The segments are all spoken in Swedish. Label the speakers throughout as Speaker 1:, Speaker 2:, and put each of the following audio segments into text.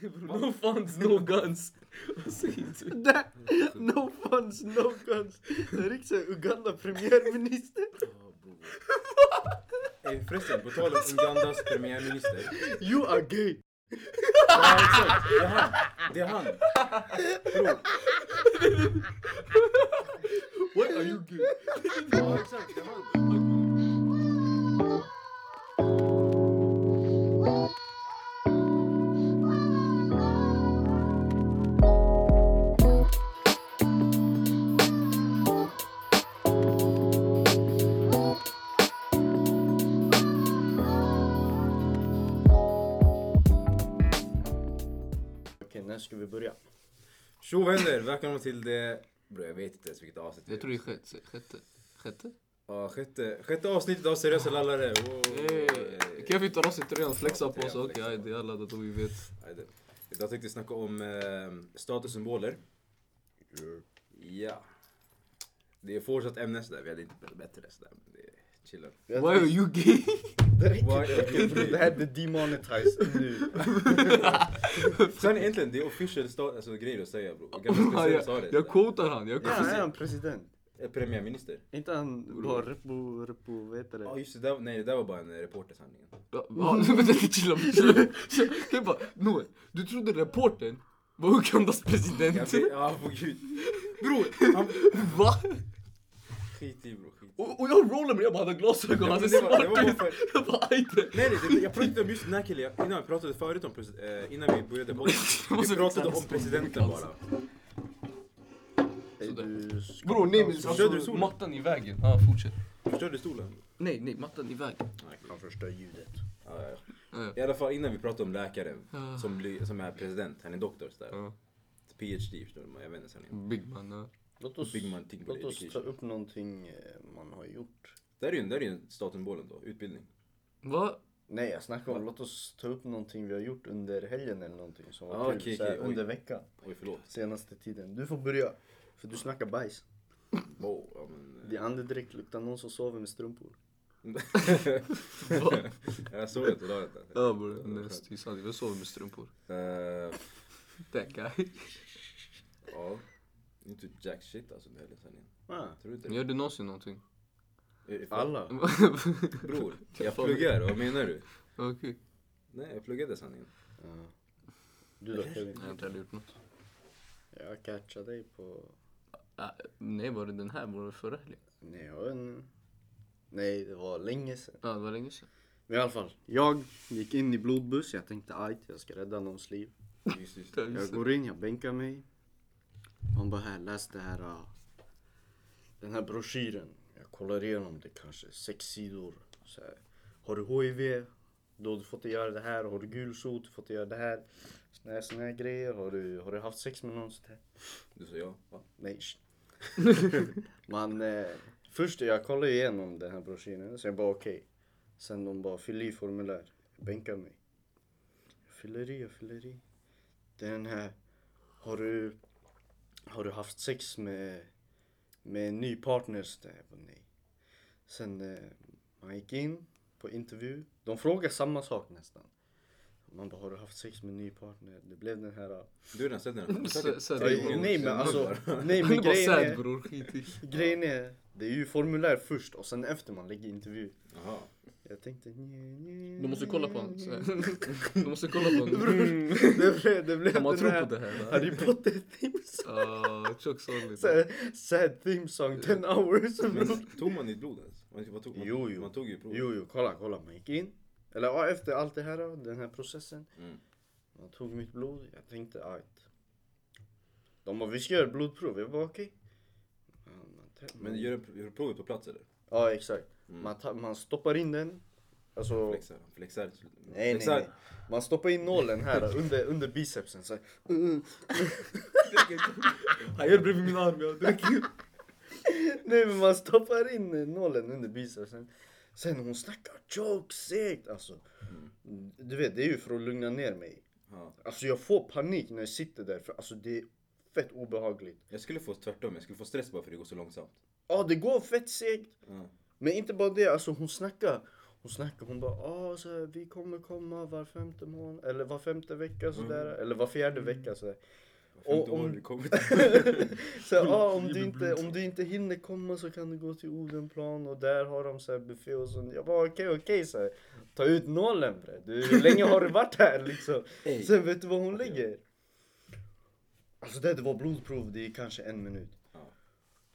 Speaker 1: No funds, no guns. Vad säger du?
Speaker 2: Där! No funds, no guns! Det är riktigt såhär Uganda premiärminister.
Speaker 3: Ja, bror. Eh, förresten, på tal om Ugandas premiärminister.
Speaker 2: You are gay!
Speaker 3: Ja, exakt. Det är han. Det är han. Bror.
Speaker 2: Why are you gay?
Speaker 3: Ja, exakt. Det är han.
Speaker 2: Okej, när ska vi börja?
Speaker 3: Tjo vänner, välkomna till det... Bror jag vet inte ens vilket avsnitt
Speaker 1: Jag tror det är sjätte. Sjätte? Sjätte?
Speaker 3: Ja, sjätte, sjätte avsnittet av Seriösa lallare. Wow.
Speaker 1: Eh, Hey. Kevin tar av sig tröjan, flexar på oss.
Speaker 3: Ja,
Speaker 1: Okej,
Speaker 3: flexar.
Speaker 1: okay, det är alla då vi vet.
Speaker 3: Nej, det- Idag tänkte jag snacka om eh, statussymboler. Ja. Det är fortsatt ämne sådär, vi hade inte bättre sådär. Men det är chillen.
Speaker 1: Why are you gay?
Speaker 2: Det räcker.
Speaker 3: Why are you gay?
Speaker 2: Det här blir demonetized nu.
Speaker 3: Sen egentligen, det är official sta- alltså, grejer att säga bror. Och ganska
Speaker 1: Ja,
Speaker 3: speciellt sa
Speaker 1: jag,
Speaker 3: det.
Speaker 1: jag quotar han. Jag
Speaker 2: Ja, är
Speaker 1: quotar.
Speaker 2: han president?
Speaker 3: Eh, Premiärminister.
Speaker 2: Inte han bara repo, repo, vad heter
Speaker 3: Ja
Speaker 2: det?
Speaker 3: just det, där, nej det där var bara en eh, reporters handling.
Speaker 1: Ja, ja, Vänta, chilla. chilla. Jag bara, Noel, du trodde reportern var Ugandas
Speaker 3: Ja,
Speaker 1: president?
Speaker 3: för- Ja, på gud. Bror! Han,
Speaker 1: Va?
Speaker 3: skit i bror, skit i.
Speaker 1: Och, och jag rollade mig, jag bara hade glasögon, Alltså,
Speaker 3: Ja,
Speaker 1: han ser
Speaker 3: men det var- det var
Speaker 1: smart ut.
Speaker 3: bara för-
Speaker 1: Jag bara, aj det.
Speaker 3: Nej, nej, det- jag pratade inte om just den här killen. Jag- Innan vi pratade förut om pres- eh, innan vi började podden.
Speaker 1: Jag måste
Speaker 3: Vi pratade
Speaker 1: fixa
Speaker 3: om
Speaker 1: en
Speaker 3: presidenten
Speaker 1: stor
Speaker 3: bara.
Speaker 2: Är du sk-
Speaker 1: Bror, nej men
Speaker 3: Körde du
Speaker 1: alltså,
Speaker 3: solen?
Speaker 1: mattan i vägen. Ja, fortsätt.
Speaker 3: Förstörde stolen?
Speaker 1: Nej, nej, mattan i vägen.
Speaker 2: Han förstör ljudet.
Speaker 3: Ja, ja,
Speaker 1: Ja.
Speaker 3: ja. I alla fall innan vi pratade om läkaren
Speaker 1: Ah.
Speaker 3: som, blir- som är president, han är doktor sådär.
Speaker 1: Ja.
Speaker 3: PhD förstår du, jag vet inte ens vad han är.
Speaker 1: Big man, ja.
Speaker 2: Låt oss,
Speaker 3: Big man think
Speaker 2: låt oss ta
Speaker 3: education.
Speaker 2: upp någonting eh, man har gjort.
Speaker 3: Där är ju, där är ju statymbolen då, utbildning.
Speaker 1: Va?
Speaker 2: Nej jag snackar om, låt oss ta upp någonting vi har gjort under helgen eller någonting som var
Speaker 3: Ah,
Speaker 2: kul
Speaker 3: okej,
Speaker 2: så här,
Speaker 3: okej, oj.
Speaker 2: under veckan.
Speaker 3: Oj förlåt.
Speaker 2: Senaste tiden. Du får börja. För du snackar bajs.
Speaker 3: Wow, ja, men, eh.
Speaker 2: Din andedräkt luktar någon som sover med strumpor.
Speaker 1: Va?
Speaker 3: jag såg inte, la inte.
Speaker 1: Ja bror, nasty sanning. Jag sover med strumpor.
Speaker 3: Eh,
Speaker 1: That guy.
Speaker 3: Ja. Inte jack shit alltså under helgen sanningen.
Speaker 2: Ah,
Speaker 3: Tror du inte det?
Speaker 1: Gör du någonsin någonting?
Speaker 3: Eh, fan,
Speaker 2: alla.
Speaker 3: Bror, jag pluggar, vad menar du?
Speaker 1: Okej.
Speaker 3: Nej, jag pluggade sanningen.
Speaker 2: Ja. Du då Kevin?
Speaker 1: Jag har inte heller gjort något.
Speaker 2: Jag catchade dig på...
Speaker 1: Ah, nej, var det den här? Var det förra helgen?
Speaker 2: Nej, jag vet inte. Nej, det var länge sedan.
Speaker 1: Ja, det var länge sedan.
Speaker 2: Men i alla fall, jag gick in i blodbuss. Jag tänkte ajt, jag ska rädda någons liv.
Speaker 3: Just, just.
Speaker 1: Ja,
Speaker 2: Jag
Speaker 1: just det.
Speaker 2: går in, jag bänkar mig. Han bara här, läs det här. ah, den här broschyren. Jag kollar igenom det kanske, sex sidor. Så här, har du HIV? Då har du fått göra det här. Har du gulsot? Du får inte göra det här. Såna här, såna här grejer. Har du, har du haft sex med någon? Sånt här.
Speaker 3: Du sa ja. Va?
Speaker 2: Nej. sh- Man, eh, först jag kollade igenom den här broschyren, sen bara okej. Sen de bara fyll i formulär, bänka mig. Jag fyller i, jag fyller i. Den här, har du, har du haft sex med, med en ny partner? Så där, jag bara, nej. Sen eh, man gick in på intervju, de frågar samma sak nästan. Man bara, har du haft sex med en ny partner? Det blev den här...
Speaker 3: Du har redan sett den. här.
Speaker 1: Sä- sä-
Speaker 3: Tre gånger.
Speaker 2: Nej men alltså, nej
Speaker 1: Han
Speaker 2: men
Speaker 1: är bara
Speaker 2: grejen är...
Speaker 1: sad bror, skit i.
Speaker 2: Grejen är, det är ju formulär först och sen efter man lägger intervju.
Speaker 3: Jaha.
Speaker 2: Jag tänkte
Speaker 1: Du måste kolla på honom. så här. Du måste kolla på honom.
Speaker 2: Mm, det blev, det blev
Speaker 1: Om man
Speaker 2: den
Speaker 1: tror
Speaker 2: här
Speaker 1: på det här.
Speaker 2: Harry Potter theme song.
Speaker 1: Ja, tjock solid.
Speaker 2: Så här, Sad theme song, 10 hours.
Speaker 3: Men tog man ditt blod ens? Man, man, tog, man,
Speaker 2: Jo, jo.
Speaker 3: man tog ju prov.
Speaker 2: Jo jo, kolla kolla, man gick in. Eller ja, efter allt det här, den här processen.
Speaker 3: Mm.
Speaker 2: Man tog mitt blod, jag tänkte ajt. De bara, vi ska göra blodprov. Jag bara okej. Ja, man tar-
Speaker 3: Men gör, du- gör du provet på plats eller?
Speaker 2: Ja exakt.
Speaker 3: Mm.
Speaker 2: Man, tar- man stoppar in den. Alltså,
Speaker 3: Flexar, flexar.
Speaker 2: Nej, nej,
Speaker 3: flexar.
Speaker 2: nej. Man stoppar in nålen här under, under bicepsen så här.
Speaker 1: Han gör bredvid min arm, jag dricker.
Speaker 2: Nej men man stoppar in nålen under bicepsen. Sen hon snackar jokes segt alltså. Du vet det är ju för att lugna ner mig.
Speaker 3: Ja.
Speaker 2: Alltså jag får panik när jag sitter där för alltså det är fett obehagligt.
Speaker 3: Jag skulle få tvärtom, jag skulle få stress bara för det går så långsamt.
Speaker 2: Ja det går fett segt.
Speaker 3: Ja.
Speaker 2: Men inte bara det, alltså hon snackar. Hon snackar, hon bara ah, så här, vi kommer komma var femte månad eller var femte vecka sådär eller var fjärde vecka sådär.
Speaker 3: Femte
Speaker 2: Och om-
Speaker 3: år du kommit.
Speaker 2: Så här, ah, om, du inte, om du inte hinner komma så kan du gå till Odenplan och där har de så här buffé och sånt. Jag bara okej okej så här. Ta ut nålen bre. Du, hur länge har du varit här liksom?
Speaker 3: Ey.
Speaker 2: Sen vet du vad hon lägger? Alltså det, det var blodprov, det är kanske en minut.
Speaker 3: Ja.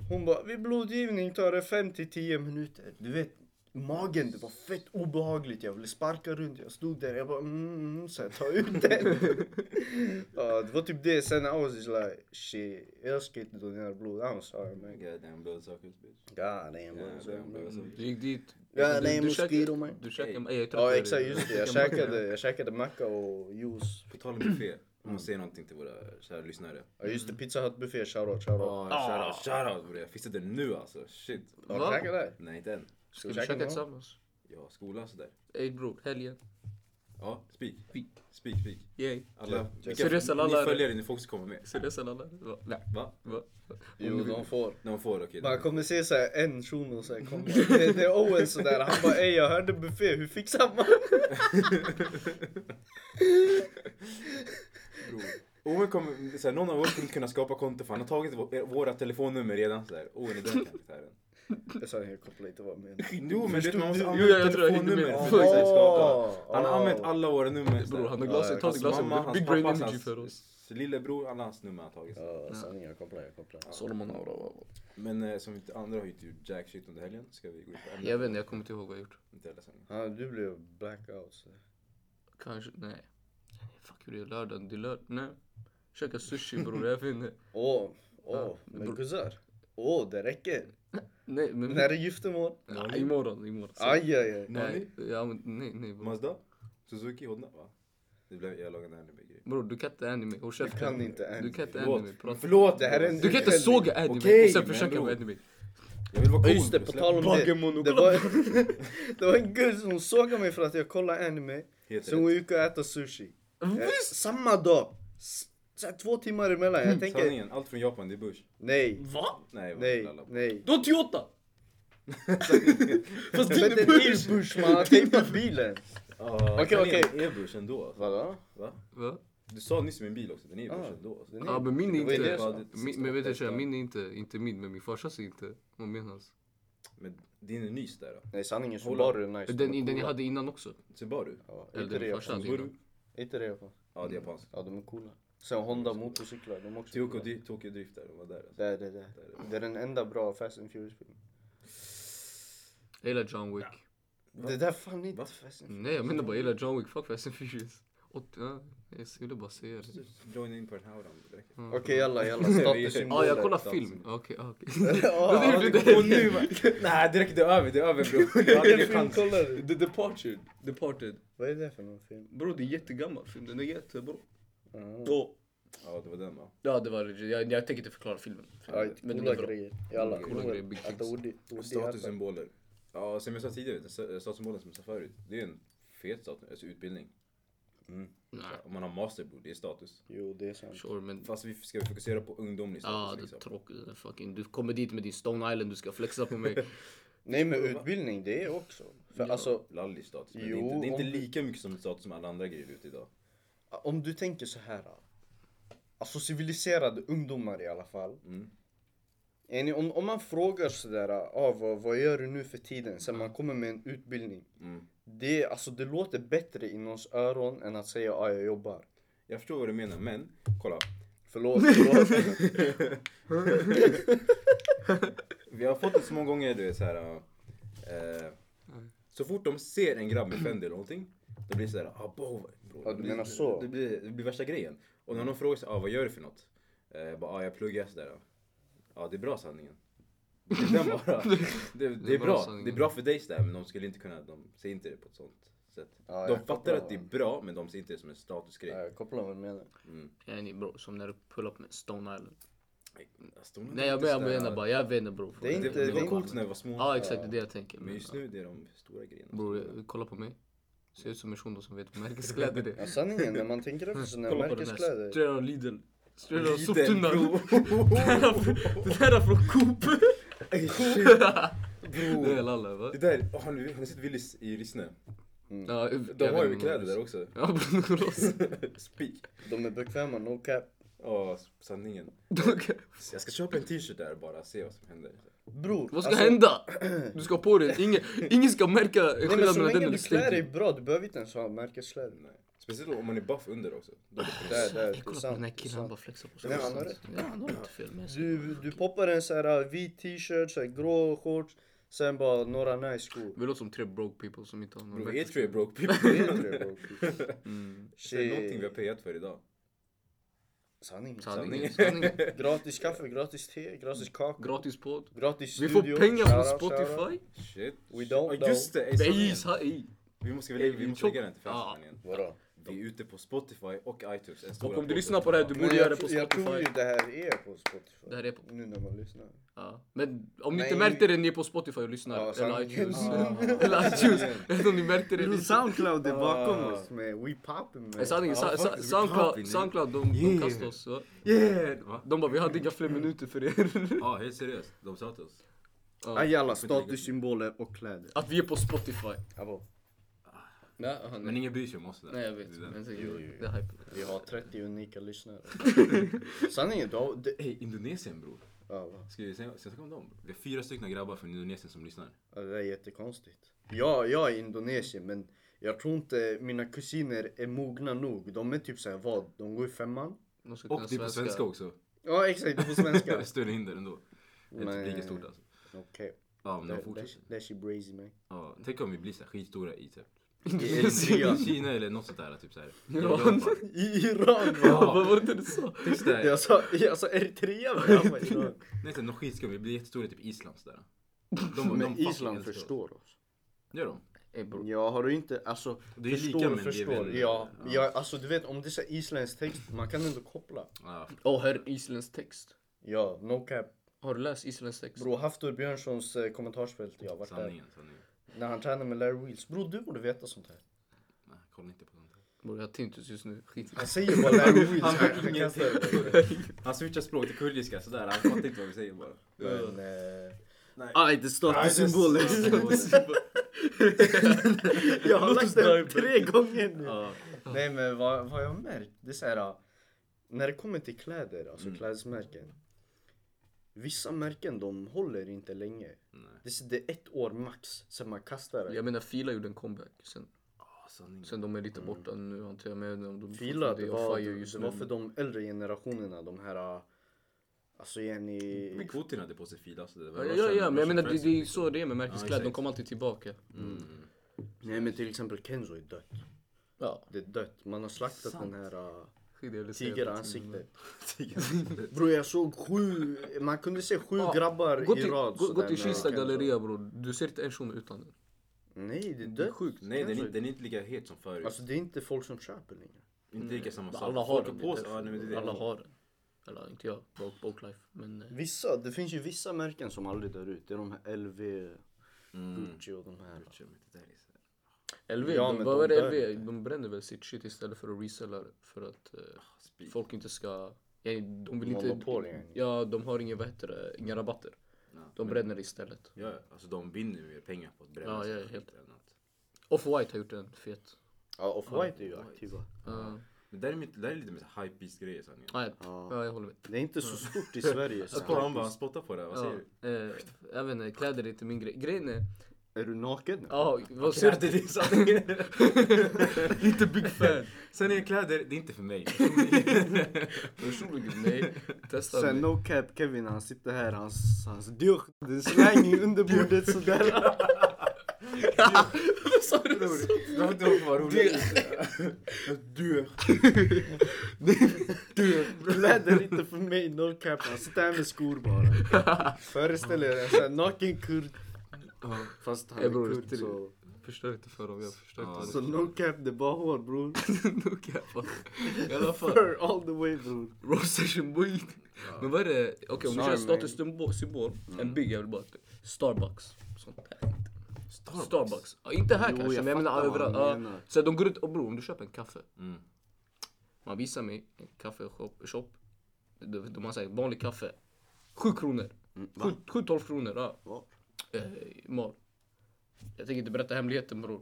Speaker 2: Hon bara vid blodgivning tar det 5 till 10 minuter. Du vet magen, det var fett obehagligt. Jag ville sparka runt. Jag stod där, jag bara mm, mm, så här, ta ut den. Ja, det var typ det. Sen I was just like shit, jag ska inte donera blod. I'm sorry man.
Speaker 3: God damn bloodsuckers bitch.
Speaker 2: God damn.
Speaker 3: Yeah,
Speaker 2: alltså.
Speaker 3: damn bloodsuckers.
Speaker 1: Du gick dit.
Speaker 2: Ja,
Speaker 1: du-
Speaker 2: nej,
Speaker 1: du
Speaker 2: mosquito,
Speaker 1: käkade-
Speaker 2: man.
Speaker 1: Du käkade, ey, jag är trött,
Speaker 2: Ja
Speaker 1: jag är-
Speaker 2: exakt, just det. Jag
Speaker 1: macka.
Speaker 2: käkade, jag käkade macka och juice.
Speaker 3: På tal om buffé, om
Speaker 2: Mm.
Speaker 3: man säger någonting till våra kära lyssnare.
Speaker 2: Ja just det, Pizza Hut buffé, shoutout, shoutout.
Speaker 1: Ah.
Speaker 3: Oh, shoutout, shoutout bror. Jag fixade det nu alltså. Shit.
Speaker 2: Har
Speaker 1: Va?
Speaker 2: du käkat där?
Speaker 3: Nej inte än.
Speaker 1: Ska
Speaker 2: vi
Speaker 1: vi
Speaker 2: käka
Speaker 1: käka
Speaker 2: imorgon?
Speaker 1: tillsammans?
Speaker 3: Ja, skolan sådär.
Speaker 1: Ey bror, helgen.
Speaker 3: Ja, spik.
Speaker 1: Spik.
Speaker 3: Spik, spik.
Speaker 1: Yay.
Speaker 3: Alla, vilka,
Speaker 1: Seriösa
Speaker 3: ni
Speaker 1: lallare.
Speaker 3: följare, ni får också komma med.
Speaker 1: Seriösa lallar? Va? Nej.
Speaker 3: Va?
Speaker 1: Va?
Speaker 2: Jo, de får.
Speaker 3: När man får, okej.
Speaker 2: Man kommer se såhär en shuno såhär kommer det, det är Owen sådär han bara ey jag hörde buffé hur fixar man?
Speaker 3: Bror. Owen kommer, såhär, någon av oss kommer inte kunna skapa konto för han har tagit vå- eh, våra telefonnummer redan sådär. Owen är den karaktären.
Speaker 2: Jag sa jag kopplar inte vad jag menar.
Speaker 3: Jo men du vet man måste
Speaker 1: Jo,
Speaker 3: använda
Speaker 1: jag tror jag hängde med.
Speaker 3: telefonnummer för att
Speaker 1: Fuck.
Speaker 3: såhär skapa.
Speaker 2: Åh,
Speaker 3: Han har
Speaker 2: åh.
Speaker 3: använt alla våra nummer. sådär.
Speaker 1: Bror, han har
Speaker 2: Ja,
Speaker 1: glasen.
Speaker 2: jag
Speaker 1: Ta
Speaker 2: hans
Speaker 1: det
Speaker 3: Hans
Speaker 1: glasen.
Speaker 3: mamma, hans
Speaker 1: Big
Speaker 3: pappa,
Speaker 1: brain energy
Speaker 3: hans
Speaker 1: för oss.
Speaker 3: lillebror, alla hans nummer har tagit.
Speaker 2: Ja sanning jag kopplar jag kopplar.
Speaker 1: Solomon Aura.
Speaker 3: Men eh, som vi inte- andra har ju inte gjort jack shit under helgen. Ska vi gå in på ämnet?
Speaker 1: Jag vet inte, jag kommer inte ihåg vad jag gjort.
Speaker 3: Inte hela sändningen.
Speaker 2: Ja, du blev blackout. Så.
Speaker 1: Kanske, nej. Fuck hur det är lördagen, det är lördag. Nej. Käka sushi bror, jag vet inte.
Speaker 2: Åh, åh,
Speaker 1: Ja,
Speaker 2: men
Speaker 1: bror.
Speaker 2: kussar. Åh, det räcker.
Speaker 1: Nej men.
Speaker 2: När är giftermål?
Speaker 1: Nej, imorgon, imorgon. Så-
Speaker 2: Aj, aj, aj.
Speaker 1: Nej, ja, men, nej, nej bror.
Speaker 3: Mazda? Suzuki? Honda? Va? Det blev, jag lagade en anime-grej.
Speaker 1: Bror du kan inte anime, håll
Speaker 2: Du kan inte
Speaker 1: Du
Speaker 2: än.
Speaker 1: kan inte
Speaker 3: Förlåt,
Speaker 1: anime, prata.
Speaker 3: förlåt!
Speaker 2: Det här är en-
Speaker 1: Du kan inte såga anime
Speaker 3: Okej,
Speaker 1: och sen
Speaker 3: men
Speaker 1: försöka
Speaker 3: bror.
Speaker 1: med anime.
Speaker 3: Jag vill vara
Speaker 2: Ja
Speaker 3: cool.
Speaker 2: just det, på
Speaker 3: släpp-
Speaker 2: tal om
Speaker 1: Pokémon
Speaker 2: det.
Speaker 1: och
Speaker 2: Det var, det var en gud som sågade mig för att jag kollade anime.
Speaker 3: Helt
Speaker 2: Så hon gick och äta sushi. Eh, samma dag! S- Så här, två timmar emellan. Jag tänker,
Speaker 3: Mm. Sanningen, allt från Japan, det är Bush.
Speaker 2: nej,
Speaker 4: Mm.
Speaker 1: Va?
Speaker 3: Nej, vad
Speaker 2: nej,
Speaker 3: lalla på.
Speaker 2: nej.
Speaker 1: Du har Toyota! Fast
Speaker 2: Men det är bush, man har tejpat bilen.
Speaker 3: Ja,
Speaker 2: Okej,
Speaker 3: Ah, sanningen,
Speaker 2: okej.
Speaker 3: är Bush ändå. alltså.
Speaker 2: Vadå?
Speaker 3: Va?
Speaker 1: Va?
Speaker 3: Du sa nyss min bil också, den är Bush
Speaker 2: Ah,
Speaker 3: ändå. alltså.
Speaker 2: den
Speaker 1: Ja men min är
Speaker 2: Det var ju det
Speaker 1: inte,
Speaker 2: jag sa.
Speaker 1: min, men vet du tjejer, min är inte, inte min men min farsas är inte, vad menas?
Speaker 3: Men din är nys där då.
Speaker 2: Nej sanningen,
Speaker 3: Hålla.
Speaker 2: Subaru är nice.
Speaker 1: Den, den jag hade innan också.
Speaker 3: Subaru?
Speaker 2: Ja,
Speaker 1: Eller
Speaker 2: inte
Speaker 1: den
Speaker 2: det jag
Speaker 1: första hade
Speaker 3: Subaru?
Speaker 1: innan.
Speaker 2: får. Inte det jag får.
Speaker 3: Ja, det är japanskt.
Speaker 2: Ja, de är coola. Sen Honda motorcyklar, de är också
Speaker 3: Tokyo
Speaker 2: coola.
Speaker 3: Dri- Tokyo Drift där, de var där. Alltså.
Speaker 2: Det är det, det. är. Det är den enda bra Fast and Furious filmen.
Speaker 1: Jag gillar John Wick.
Speaker 2: Det där är fan inte
Speaker 3: Va?
Speaker 2: Fast and Furious.
Speaker 1: Nej jag menar bara jag gillar John Wick, fuck Fast and Furious. Och, ja, jag ville bara säga det.
Speaker 3: Joina in på den här hauran, det räcker.
Speaker 2: Okej jalla jalla, statussymboler.
Speaker 1: Ja jag kollar
Speaker 3: Samsung.
Speaker 1: film, okej okej.
Speaker 2: Ja,
Speaker 1: Det är
Speaker 3: det
Speaker 1: ju
Speaker 3: går nu va? Nej, det räcker, det är över, det är över bror. Jag hade ingen
Speaker 2: Vilken film
Speaker 3: chans.
Speaker 2: kollar du?
Speaker 1: The Departed, Departed.
Speaker 2: Vad är det för någon film? Ah,
Speaker 1: Bro det är en jättegammal film, den är jättebra.
Speaker 2: Ja,
Speaker 1: Då.
Speaker 3: Ja, det var den va?
Speaker 1: Ja det var legit, jag, jag tänker inte förklara filmen.
Speaker 2: Ja,
Speaker 1: Men den
Speaker 2: coola
Speaker 1: är bra.
Speaker 2: grejer. Jalla,
Speaker 1: Coola grejer, big
Speaker 2: Att
Speaker 1: things.
Speaker 2: Odi- Odi Arpa.
Speaker 3: Statussymboler. Ja, som jag sa tidigare, den sta- statussymbolen som jag sa förut. Det är en fet status, alltså utbildning.
Speaker 1: Nej,
Speaker 3: Om man har master bror, det är status.
Speaker 2: Jo, det är sant.
Speaker 1: sure men.
Speaker 3: Fast vi ska fokusera på ungdomlig status
Speaker 1: Ja det är
Speaker 3: liksom.
Speaker 1: tråkigt, fucking. Du kommer dit med din Stone Island, du ska flexa på mig.
Speaker 2: Nej men utbildning, det är också. För alltså,
Speaker 3: Lallig status. Men
Speaker 2: Jo,
Speaker 3: det, är inte, det är inte
Speaker 2: om du-
Speaker 3: lika mycket som status som alla andra grejer ute idag.
Speaker 2: om du tänker så här. Alltså civiliserade ungdomar i alla fall.
Speaker 3: Mm.
Speaker 2: Är ni, om, om man frågar sådär, ah, vad, vad gör du nu för tiden? Sen
Speaker 1: Mm.
Speaker 2: man kommer med en utbildning.
Speaker 3: Mm.
Speaker 2: Det, alltså, det låter bättre i någons öron än att säga ah, jag jobbar.
Speaker 3: Jag förstår vad du menar, men kolla.
Speaker 2: Förlåt, förlåt.
Speaker 3: Vi har fått det så många gånger, du vet såhär. Eh, så fort de ser en grabb med Fendi eller någonting, då blir det såhär, ah bo, bro.
Speaker 2: Ja, du
Speaker 3: Det blir-
Speaker 2: menar så.
Speaker 3: Det blir, det blir värsta grejen. Och när någon frågar sig, ah vad gör du för något? Eh, jag bara, ah jag pluggar sådär. Ja, ah, det är bra sanningen. Det är den bara. Det, det är bra.
Speaker 1: sanningen.
Speaker 3: Det är bra för dig sådär, men de skulle inte kunna, de ser inte det på ett sånt sätt.
Speaker 2: Ja, jag
Speaker 3: de
Speaker 2: kopplar
Speaker 3: fattar att det är
Speaker 2: av.
Speaker 3: bra, men de ser inte det som en statusgrej. Mm.
Speaker 2: Ja, jag kopplar vad du menar.
Speaker 1: Yani bro, som när du pull upp med Stone Island.
Speaker 3: Nej, alltså, de är
Speaker 1: Nej jag,
Speaker 3: inte
Speaker 1: men- jag
Speaker 3: sådär-
Speaker 1: menar bara, jag vet inte bro.
Speaker 2: Det är
Speaker 3: Det,
Speaker 2: inte-
Speaker 3: det var
Speaker 2: inte-
Speaker 3: coolt när vi var små.
Speaker 1: Ja exakt det är det jag tänker.
Speaker 3: Men
Speaker 1: Men,
Speaker 3: just nu, det är de stora grejerna.
Speaker 1: Bror jag- kolla på mig. Ser ut som en shuno som vet vad märkeskläder det
Speaker 2: Ja,
Speaker 1: är.
Speaker 2: sanningen, när man tänker efter sådana
Speaker 1: Kolla på den här,
Speaker 2: märkeskläder.
Speaker 1: straight out Lidl. Straight out
Speaker 3: Lidl,
Speaker 1: soptunnan.
Speaker 3: bro.
Speaker 1: Det där är från Coop.
Speaker 3: Ey, shit.
Speaker 1: Det är
Speaker 3: Bro.
Speaker 1: Lalle va?
Speaker 3: Det där, oh, har, ni, har ni sett Willys i Rissne?
Speaker 1: Ja,
Speaker 3: De har ju kläder där också.
Speaker 1: Ja, Bruno Ross.
Speaker 3: Spik.
Speaker 2: De är bekväma, no cap.
Speaker 3: Ja, sanningen.
Speaker 1: Okej.
Speaker 3: Jag ska köpa en t-shirt där bara, se vad som händer.
Speaker 2: Bror, alltså,
Speaker 1: Vad ska hända? Du ska ha på dig, ingen, ingen ska märka
Speaker 2: Nej, men
Speaker 1: skillnaden
Speaker 2: så
Speaker 1: mellan den
Speaker 2: länge
Speaker 1: och
Speaker 2: du klär dig
Speaker 1: stinken.
Speaker 2: bra, du behöver inte ens ha märkeskläder.
Speaker 3: Nej. Speciellt om man är buff under också. Då är det
Speaker 2: Där, där, det är
Speaker 1: Jag kollar på
Speaker 2: sant,
Speaker 1: den här
Speaker 2: det är
Speaker 1: killen, han
Speaker 2: sant.
Speaker 1: bara flexar på sig.
Speaker 2: Nej, han har rätt.
Speaker 1: Ja, han har inte fel med sig.
Speaker 2: Du, du poppar en sån här äh, vit t-shirt, så här grå shorts, sen bara några nice skor.
Speaker 1: Vi låter som tre broke people som inte har någon
Speaker 3: Bro,
Speaker 1: bättre-
Speaker 3: er tre är broke
Speaker 2: Det
Speaker 3: people.
Speaker 2: är inte det, bro.
Speaker 1: Mm.
Speaker 3: Det är någonting vi har payat för idag.
Speaker 2: Sanning.
Speaker 1: Sanningen,
Speaker 3: Sanningen.
Speaker 1: sanningen.
Speaker 2: Gratis kaffe, gratis te, gratis kakor,
Speaker 1: Gratis podd.
Speaker 2: gratis
Speaker 1: Vi
Speaker 2: studio.
Speaker 1: får pengar från
Speaker 2: Shoutout, shoutout.
Speaker 1: Spotify.
Speaker 3: Shit.
Speaker 2: We don't
Speaker 3: Ja, just det, ey, sanningen.
Speaker 1: Nej, sa ej.
Speaker 3: Vi måste, vi, lägga- vi måste lägga den till
Speaker 1: Ja.
Speaker 3: fansen igen.
Speaker 2: Vadå?
Speaker 3: Vi är ute på Spotify och iTunes. en stor
Speaker 1: Och om du
Speaker 3: rapport.
Speaker 1: lyssnar på det här, du
Speaker 2: Men
Speaker 1: borde göra det
Speaker 2: jag,
Speaker 1: på
Speaker 2: jag tror ju
Speaker 1: Spotify.
Speaker 2: det här är på Spotify.
Speaker 1: Det här är på...
Speaker 2: Nu när man lyssnar.
Speaker 1: Ja. Men om ni inte
Speaker 2: Nej.
Speaker 1: märkte det, ni är på Spotify och lyssnar.
Speaker 2: Ja,
Speaker 1: eller
Speaker 2: sanningen.
Speaker 1: iTunes.
Speaker 2: Ja.
Speaker 1: eller iTunes. Eller om ni märkte det. ni-
Speaker 2: Soundcloud är
Speaker 3: bakom
Speaker 2: Ah.
Speaker 3: oss
Speaker 2: med We Poppin'
Speaker 1: Nej, Sanningen, Sa-
Speaker 3: Ja,
Speaker 1: Sa-
Speaker 3: faktiskt, vi
Speaker 1: Soundcloud,
Speaker 3: tar
Speaker 1: Soundcloud de, de
Speaker 3: Yeah.
Speaker 1: kastade oss. va?
Speaker 3: Yeah! Va?
Speaker 1: De bara, vi hade inga fler minuter för er.
Speaker 3: Ja, helt seriöst. De sa till oss.
Speaker 2: Ayalla, statussymboler och kläder.
Speaker 1: Att vi är på Spotify. Nej,
Speaker 3: Men ingen bryr sig om oss där.
Speaker 1: nej jag vet.
Speaker 3: Det är
Speaker 1: Men
Speaker 3: den.
Speaker 1: det
Speaker 2: Jo, jo, jo.
Speaker 1: är hype.
Speaker 2: Vi har 30 unika lyssnare. Sanningen, du har... det-
Speaker 3: Ey, Indonesien bror.
Speaker 2: Ja, va?
Speaker 3: Ska vi säga ska jag snacka om dem? Vi har fyra stycken grabbar från Indonesien som lyssnar.
Speaker 2: Ja, det där är jättekonstigt. Ja, jag är Indonesien men jag tror inte mina kusiner är mogna nog. De är typ såhär vad? De går i femman?
Speaker 1: De ska
Speaker 3: Och
Speaker 1: kunna
Speaker 3: det är på svenska också.
Speaker 2: Ja exakt, det är på svenska.
Speaker 3: Större hinder ändå. Det är typ
Speaker 2: Nej.
Speaker 3: lika stort alltså.
Speaker 2: Okej.
Speaker 3: Ja, men de
Speaker 2: Okay.
Speaker 3: fortsätter.
Speaker 2: That's she brazy man.
Speaker 3: Ja, tänk om vi blir så här skitstora i typ
Speaker 2: Eritrea.
Speaker 3: Kina eller något sånt där. Typ så här.
Speaker 1: Iran.
Speaker 2: I Iran va?
Speaker 1: Ja, vad var det du sa?
Speaker 3: Tänk så där.
Speaker 2: Jag sa, jag sa Eritrea men jag bara Iran.
Speaker 3: Nej, så här, något skitskum. Vi blir jättestora i typ Island. Så där. De, de
Speaker 2: Men
Speaker 3: fucking
Speaker 2: Island
Speaker 3: älskar oss.
Speaker 2: förstår oss.
Speaker 3: Gör de?
Speaker 1: Ey, bror.
Speaker 2: Jag har du inte, alltså.
Speaker 3: Det är ju
Speaker 2: förstår
Speaker 3: lika,
Speaker 2: och
Speaker 3: men det är
Speaker 2: förstår.
Speaker 3: väl-
Speaker 2: ja,
Speaker 3: ja.
Speaker 2: ja, alltså du vet om det är så här isländsk text, man kan ändå koppla.
Speaker 3: Ja,
Speaker 1: Åh, här är Isländsk text.
Speaker 2: Ja, no cap.
Speaker 1: Har du läst Isländsk text?
Speaker 2: Bror Haftor Björnssons eh, kommentarsfält, jag har varit där.
Speaker 3: sanningen. sanningen.
Speaker 2: När han tränar med Larry Wheels. Bror du borde veta sånt här.
Speaker 3: Nej, kolla inte på sånt. här.
Speaker 1: Bror, jag har tinnitus just nu. Skit.
Speaker 2: Han säger bara Larry Wheels.
Speaker 3: Han
Speaker 2: Jag
Speaker 3: hör
Speaker 2: kan kasta
Speaker 3: ingenting. Han switchar språk till kurdiska sådär. Han fattar inte vad vi säger bara.
Speaker 2: det. Men, eh,
Speaker 1: Aj, det
Speaker 2: Jag har lagt den
Speaker 1: Sniper.
Speaker 2: tre gånger nu.
Speaker 3: Ja.
Speaker 2: Nej men vad, vad jag har märkt, det är så här. ah, När det kommer till kläder, alltså
Speaker 3: Mm.
Speaker 2: klädesmärken. Vissa märken de håller inte länge.
Speaker 3: Nej.
Speaker 2: Det är, det är ett år max sen man kastar det.
Speaker 1: Jag menar, Fila gjorde en comeback sen.
Speaker 3: Ja, sanningen.
Speaker 1: Sen de är lite borta nu antar jag. Men jag vet inte om de
Speaker 2: Fila,
Speaker 1: fortfarande
Speaker 2: det
Speaker 1: är
Speaker 2: var,
Speaker 1: on fire
Speaker 2: det
Speaker 1: just
Speaker 2: var
Speaker 1: nu.
Speaker 2: för de äldre generationerna, de här... ah, Alltså Jenny...
Speaker 3: Men Putin hade på sig fila. Så det var
Speaker 1: Ja, ja, ja, men jag menar det, det är
Speaker 3: det...
Speaker 1: så det är med
Speaker 3: Ja,
Speaker 1: märkeskläder. De
Speaker 3: exakt.
Speaker 1: kommer alltid tillbaka.
Speaker 3: Mm.
Speaker 2: Nej men till exempel Kenzo är dött.
Speaker 1: Ja,
Speaker 2: Det är dött. Man har slaktat
Speaker 3: Sant.
Speaker 2: den här ah,
Speaker 1: skitjävligt.
Speaker 2: tigeransiktet.
Speaker 3: Tiger.
Speaker 2: Bror jag såg sju, man kunde se sju
Speaker 1: Ja,
Speaker 2: grabbar
Speaker 1: Gå
Speaker 2: i
Speaker 1: till,
Speaker 2: rad.
Speaker 1: gå,
Speaker 2: sådär
Speaker 1: gå till
Speaker 2: när-
Speaker 1: Kista
Speaker 2: Kenzo.
Speaker 1: galleria bror. Du ser inte en shuno utan den.
Speaker 2: Nej det är
Speaker 1: Det är
Speaker 2: dött.
Speaker 1: sjukt.
Speaker 3: Nej, den är, inte- den är inte lika het som förut.
Speaker 2: Alltså det är inte folk som köper längre.
Speaker 3: inte lika samma sak.
Speaker 1: mm, Alla har
Speaker 3: Folk
Speaker 1: den.
Speaker 3: Alltså, har
Speaker 1: det
Speaker 3: på sig. Ja, nej,
Speaker 1: är
Speaker 3: men det är
Speaker 1: därför.
Speaker 3: det.
Speaker 1: Alla har den. Eller inte jag. Broke, broke life. Men eh,
Speaker 2: Vissa, det finns ju vissa märken som aldrig dör ut. Det är de här LV,
Speaker 3: Mm.
Speaker 2: Gucci och de här.
Speaker 3: Kör mig inte där, Lisa.
Speaker 1: LV,
Speaker 2: Ja,
Speaker 1: de,
Speaker 2: men
Speaker 1: vad
Speaker 2: de
Speaker 1: var det
Speaker 2: dör
Speaker 1: LV? De bränner väl sitt shit istället för att resella det. För att eh,
Speaker 3: Spik.
Speaker 1: folk inte ska... Ja, de vill inte...
Speaker 2: Monopol igen.
Speaker 1: Ja, de har inga, vad heter det, inga rabatter.
Speaker 3: Ja,
Speaker 1: De
Speaker 3: men-
Speaker 1: bränner istället.
Speaker 3: Ja, ja. alltså de vinner ju mer pengar på att bränna
Speaker 1: Ja,
Speaker 3: sig
Speaker 1: ja,
Speaker 3: än
Speaker 1: helt.
Speaker 3: att-
Speaker 1: Off-White har gjort en fet.
Speaker 2: Ja, Off-White är ju aktiva.
Speaker 1: Ja.
Speaker 3: Men där är, mitt, där är lite mer så hype beast grejer sanningen.
Speaker 1: Nej,
Speaker 2: Ja.
Speaker 1: ja, jag håller med.
Speaker 2: Det är inte så stort i Sverige.
Speaker 3: Jag
Speaker 2: så
Speaker 3: spottar, han bara
Speaker 2: här.
Speaker 3: han spottar på det, vad
Speaker 1: Ja,
Speaker 3: säger du?
Speaker 1: eh, jag vet inte, kläder är inte min grej. Grejen är...
Speaker 2: Är du naken? nu?
Speaker 1: Ja, vad ser
Speaker 3: Kläder, det är sanningen.
Speaker 1: du? Inte big fan.
Speaker 3: Sen är kläder, det är inte för mig.
Speaker 1: Personligen, nej. Testa
Speaker 2: Sen
Speaker 1: mig.
Speaker 2: no cap Kevin han sitter här, hans, hans dusch, den slänger under bordet sådär.
Speaker 1: Sa du så?
Speaker 3: Du har inte varit rolig.
Speaker 2: Kläder inte för mig, no cap. Han sitter här med skor bara. Föreställ er en sån här naken kurd.
Speaker 1: Ja,
Speaker 2: Fast han
Speaker 1: Eh,
Speaker 2: är
Speaker 1: bror,
Speaker 2: kurd
Speaker 1: det-
Speaker 2: så.
Speaker 1: Förstör inte för dem, jag förstör
Speaker 3: Ja,
Speaker 1: inte.
Speaker 2: Så no cap, det är bara hår bror.
Speaker 1: Noga, fan. I alla fall.
Speaker 2: Fur all the way bror.
Speaker 1: Raw session boy. Men vad är det? Okej om vi
Speaker 2: Sorry,
Speaker 1: kör status
Speaker 2: man.
Speaker 1: symbol, symbol
Speaker 2: Mm.
Speaker 1: en big jag vill bara Starbucks. Sånt här.
Speaker 3: Starbucks?
Speaker 1: Starbucks. Ja, inte här
Speaker 2: Jo,
Speaker 1: kanske
Speaker 2: jag
Speaker 1: men jag menar
Speaker 2: fattar vad
Speaker 1: överallt.
Speaker 2: han
Speaker 1: Ja.
Speaker 2: menar.
Speaker 1: Så de går ut och bror om du köper en kaffe.
Speaker 3: Mm.
Speaker 1: Man visar mig en kaffeshop. Shop. De, de har sagt vanlig kaffe. 7 kronor.
Speaker 2: Mm, va?
Speaker 1: 7-12 kronor. Ja.
Speaker 2: Var?
Speaker 1: eh, mal. Jag tänker inte berätta hemligheten bror.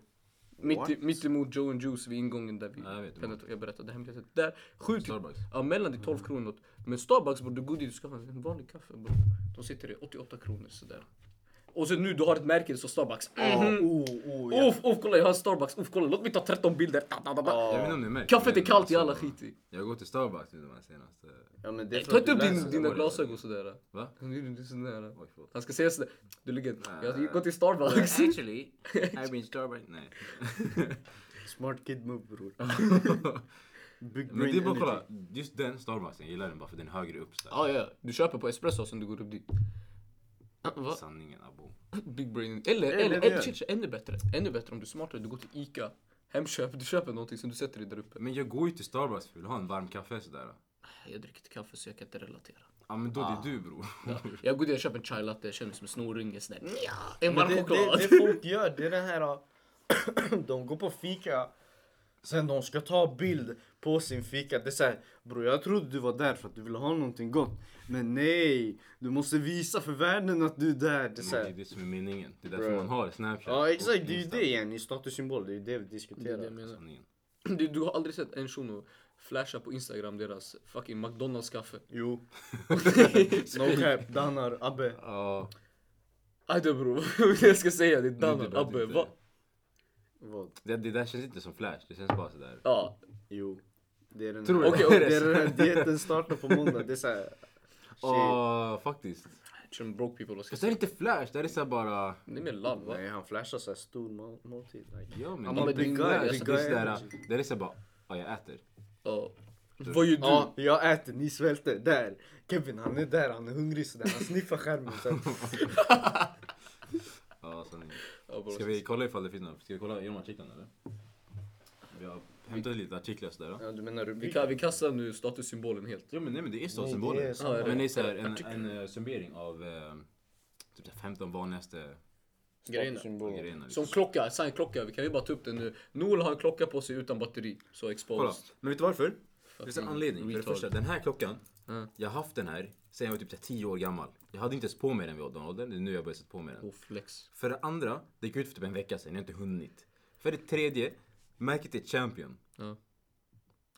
Speaker 1: Mitt, i,
Speaker 2: What?
Speaker 1: mitt emot Joe and Juice vid ingången där vi
Speaker 3: Ja, jag vet.
Speaker 1: pendlat- jag berättade hemligheten. Där, sju till-
Speaker 3: Starbucks. Mm.
Speaker 1: Ja, mellan det är 12 kronor. Men Starbucks bror, du går dit och skaffar en vanlig kaffe bror. De sitter i 88 kronor sådär. Och sen nu, du har ett märke, så Starbucks.
Speaker 2: Oh,
Speaker 1: Mhm.
Speaker 2: oh, oh, ja.
Speaker 1: Uff, uff, kolla jag har Starbucks. Uff, kolla låt mig ta 13 bilder. Ta, ta, ta, ta.
Speaker 2: Ja.
Speaker 3: Jag vet inte om ni märker.
Speaker 1: Kaffet är
Speaker 3: men
Speaker 1: kallt,
Speaker 3: alltså,
Speaker 1: jävla skit i.
Speaker 3: Jag går till Starbucks nu de här senaste...
Speaker 2: Ja, men det är
Speaker 1: Nej,
Speaker 2: för
Speaker 1: Ta
Speaker 2: att
Speaker 1: inte
Speaker 2: du
Speaker 1: upp
Speaker 2: läser
Speaker 1: din,
Speaker 2: det.
Speaker 1: dina
Speaker 3: var det.
Speaker 1: glasögon sådär.
Speaker 3: Va?
Speaker 1: Nu är du inte så nära.
Speaker 3: Oj, förlåt.
Speaker 1: Han ska säga sådär. Du ligger... Jag har gått till
Speaker 3: Well,
Speaker 1: Starbucks.
Speaker 3: Actually, I've been Starbucks... Nej.
Speaker 2: Smart kid move bror. Big
Speaker 3: Men det är
Speaker 2: brain
Speaker 3: bara kolla,
Speaker 2: energy.
Speaker 3: just den Starbucksen, jag gillar den bara för den är högre upp så där.
Speaker 1: Ja, ja. Du köper på espresso sen du går upp dit. Ah, Va?
Speaker 3: Sanningen abo.
Speaker 1: Big brain. Eller,
Speaker 2: Eller
Speaker 1: eller,
Speaker 2: det
Speaker 1: eller
Speaker 2: gör.
Speaker 1: shit, shit, ännu bättre. Ännu bättre om du är smartare. Du går till Ica, Hemköp, du köper någonting som du sätter dig där uppe.
Speaker 3: Men jag går ju till Starbucks för att jag vill ha en varm kaffe sådär.
Speaker 1: Jag dricker inte kaffe så jag kan inte relatera.
Speaker 3: Ja men då det är du bror.
Speaker 1: Ja, jag går dit och köper en chai latte, jag känner mig som en snorunge. Sådär. nja, En
Speaker 2: Men
Speaker 1: varm
Speaker 2: det, det,
Speaker 1: choklad.
Speaker 2: det folk gör, det är den här... ah, de går på fika, sen de ska ta bild på sin fika. Det är såhär, bror jag trodde du var där för att du ville ha någonting gott. Men nej, du måste visa för världen att du är där. Det är
Speaker 3: Men Det är
Speaker 2: såhär,
Speaker 3: det som är meningen. Det är därför
Speaker 2: Bro.
Speaker 3: man har Snapchat.
Speaker 2: ja exakt,
Speaker 3: och
Speaker 2: det är ju
Speaker 3: Insta.
Speaker 2: det igen, i statussymbol, det är ju
Speaker 1: Det
Speaker 2: det vi
Speaker 1: är det
Speaker 2: diskuterar.
Speaker 1: jag menar.
Speaker 3: Sanningen.
Speaker 1: Du, du har aldrig sett en shuno flasha på Instagram deras fucking McDonalds kaffe.
Speaker 2: Jo. no cap, Danar, Abbe.
Speaker 3: Ja.
Speaker 1: Aj då bror, jag ska säga det.
Speaker 3: det är
Speaker 1: Danne,
Speaker 3: bra att
Speaker 1: Abbe,
Speaker 3: inte-
Speaker 1: va?
Speaker 2: Vad?
Speaker 3: Det, det där känns inte som flash, det känns bara sådär.
Speaker 1: Ja,
Speaker 2: Jo. Det är den
Speaker 3: Tror
Speaker 2: här,
Speaker 3: du
Speaker 1: det?
Speaker 2: det är den här dieten startar på måndag. Det är såhär... shit.
Speaker 3: Ja faktiskt.
Speaker 1: som broke people. vad Ska jag
Speaker 3: Fast det är
Speaker 1: säga.
Speaker 3: inte flash, det här är såhär bara...
Speaker 1: Det är mer lall va?
Speaker 2: Nej, han flashar såhär stor må- måltid. Like.
Speaker 3: Ja men...
Speaker 1: Ja,
Speaker 3: det,
Speaker 1: men det
Speaker 3: det,
Speaker 1: är guy,
Speaker 3: är
Speaker 1: alltså,
Speaker 3: sådär, det, är
Speaker 2: guy
Speaker 3: sådär,
Speaker 2: energy.
Speaker 3: det är såhär bara, ja jag äter.
Speaker 1: Ja. Vad gör du?
Speaker 2: Ja, jag äter, ni svälter. Där! Kevin han är där, han är hungrig sådär. Han sniffar skärmen sen.
Speaker 3: Ja sanningen.
Speaker 1: Ja, bror.
Speaker 3: Ska vi kolla ifall det finns något? Ska vi kolla genom artiklarna eller? Vi har hämtat lite artiklar sådär.
Speaker 2: Ja, du menar
Speaker 1: Vi,
Speaker 2: rubriken?
Speaker 1: kan, vi kastar nu statussymbolen helt.
Speaker 3: Ja men nej men det är så
Speaker 2: Nej, det
Speaker 3: symboler.
Speaker 2: är samma.
Speaker 3: men det är såhär en, en eh, summering av eh, typ så här 15 vanligaste
Speaker 1: Grejerna.
Speaker 2: Statussymbol.
Speaker 3: grejerna.
Speaker 1: Som
Speaker 3: Liksom.
Speaker 1: klocka, sign klocka. Vi kan ju bara ta upp den nu. Noel har en klocka på sig utan batteri. Så
Speaker 3: Kolla,
Speaker 1: exposed.
Speaker 3: men vet du varför? Det finns en anledning. För det
Speaker 1: retard.
Speaker 3: första, den här klockan,
Speaker 1: Mm.
Speaker 3: jag har haft den här sen jag var typ så här 10 år gammal. Jag hade inte ens på mig den vid den åldern, det är nu jag börjat sätta på mig den.
Speaker 1: Och flex.
Speaker 3: För det andra, det gick ut för typ en vecka sedan, jag har inte hunnit. För det tredje, märket är Champion.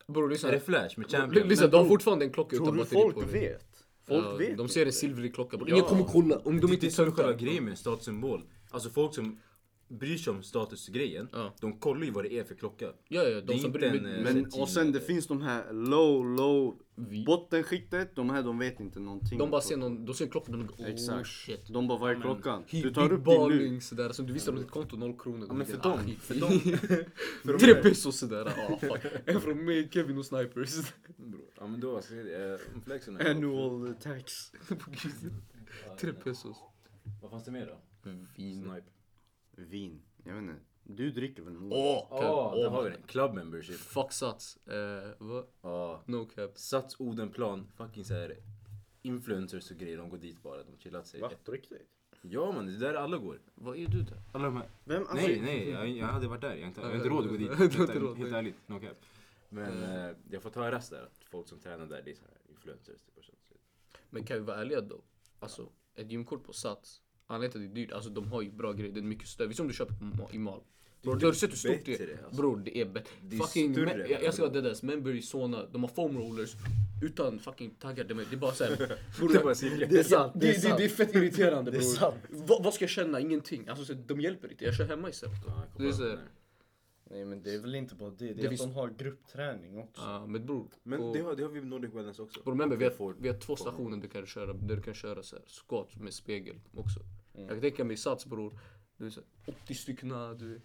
Speaker 1: Bror lyssna.
Speaker 3: Är det Flash med
Speaker 1: L-
Speaker 3: Champion?
Speaker 1: lyssna, de har fortfarande en klocka
Speaker 2: Tror
Speaker 1: utan
Speaker 2: du
Speaker 1: batteri på
Speaker 2: folk
Speaker 1: sig.
Speaker 2: vet? Folk
Speaker 1: Ja,
Speaker 2: vet
Speaker 1: De
Speaker 2: inte.
Speaker 1: ser en silvrig klocka. bror.
Speaker 2: Ja.
Speaker 1: Ingen kommer kolla om de
Speaker 3: Det, det
Speaker 1: inte
Speaker 3: är som är själva
Speaker 1: töntar.
Speaker 3: grejen med en statussymbol. Alltså folk som bryr sig om statusgrejen,
Speaker 1: Ja,
Speaker 3: de kollar ju vad det är för klocka.
Speaker 1: ja, ja
Speaker 3: Det är
Speaker 1: de som
Speaker 3: inte
Speaker 1: bryr
Speaker 3: en, eh,
Speaker 1: mig.
Speaker 2: Men och sen det finns de här low, low
Speaker 1: Vi-
Speaker 2: bottenskiktet. De här de vet inte någonting.
Speaker 1: De bara ser någon, de ser en klocka och de bara oh
Speaker 2: Exakt.
Speaker 1: shit.
Speaker 2: De bara, vad är klockan?
Speaker 1: He
Speaker 2: Du tar
Speaker 1: big
Speaker 2: upp din lur.
Speaker 1: balling sådär. Som du visar dem ditt konto, noll kronor.
Speaker 3: men
Speaker 1: De
Speaker 3: för
Speaker 1: bara,
Speaker 3: dem,
Speaker 1: ah, skit
Speaker 3: för
Speaker 1: i.
Speaker 3: dem.
Speaker 1: Tre pesos sådär. Ah, fuck. En från mig, Kevin och Snipers.
Speaker 3: Bror, ja men då, ska vi, eh, om flexen är-
Speaker 2: Annual tax.
Speaker 1: På Gud. Tre pesos.
Speaker 3: Vad fanns det mer då?
Speaker 1: Vin.
Speaker 3: Snipe.
Speaker 2: Vin. Jag vet inte. Du dricker väl nog?
Speaker 1: Åh!
Speaker 3: Åh,
Speaker 1: Kev.
Speaker 3: där
Speaker 1: Åh,
Speaker 3: har vi
Speaker 1: man.
Speaker 3: den. Club membership.
Speaker 1: Fuck sats. Eh, vad?
Speaker 3: Ja.
Speaker 1: No caps.
Speaker 3: Sats Odenplan, fucking såhär influencers och grejer, de går dit bara, de chillat sig.
Speaker 2: Va? På riktigt?
Speaker 3: Ja man, det är där alla går.
Speaker 1: Vad är du där?
Speaker 3: Alla de här.
Speaker 2: Vem? Alltså,
Speaker 3: Nej, nej, jag, jag hade varit där. Jag har inte, jag har inte råd att gå dit.
Speaker 1: Du har inte
Speaker 3: Helt,
Speaker 1: råd,
Speaker 3: helt
Speaker 1: nej.
Speaker 3: ärligt, no cap. Men eh, jag får ta en rast där. att Folk som tränar där, det är såhär influencers. Typ, och sånt.
Speaker 1: Men kan vi vara ärliga då? Alltså, ett gymkort på sats. Anledningen till att det är dyrt, alltså de har ju bra grejer. Det är mycket större. Visst om du köper på Ma- i mal.
Speaker 3: Bror,
Speaker 1: Bror,
Speaker 3: det
Speaker 1: du
Speaker 3: är
Speaker 1: har sett hur stort det
Speaker 3: bättre,
Speaker 1: är?
Speaker 3: alltså.
Speaker 1: Bror, det är bättre.
Speaker 3: Det är
Speaker 1: Fucking,
Speaker 3: större.
Speaker 1: men, jag, jag ska vara deadass. Membury, Sona, de har foam rollers. Utan fucking taggar. Det är det är bara såhär. bror,
Speaker 3: Det var cirkeln.
Speaker 2: Det är sant.
Speaker 1: Det, det, det, är fett irriterande
Speaker 2: Det är
Speaker 1: bror.
Speaker 2: sant.
Speaker 1: Va, vad ska jag känna? Ingenting. Alltså, så, de hjälper inte. Jag kör hemma istället.
Speaker 3: Ja, jag
Speaker 1: Det
Speaker 3: kopplar
Speaker 1: är så-
Speaker 3: upp den här.
Speaker 2: Nej men det är väl inte bara det, det,
Speaker 1: Det
Speaker 2: är att
Speaker 1: finns-
Speaker 2: de har gruppträning också.
Speaker 1: Ja, men bror.
Speaker 3: Men
Speaker 1: och-
Speaker 3: det har, det har vi med Nordic Wellness också.
Speaker 1: Bror remember, vi har,
Speaker 3: Ford.
Speaker 1: vi har två stationer du kan köra, där du kan köra så här, skott med spegel också.
Speaker 2: Mm.
Speaker 1: Jag kan tänka mig i Sats bror, du är så här, 80 stycken, du vet.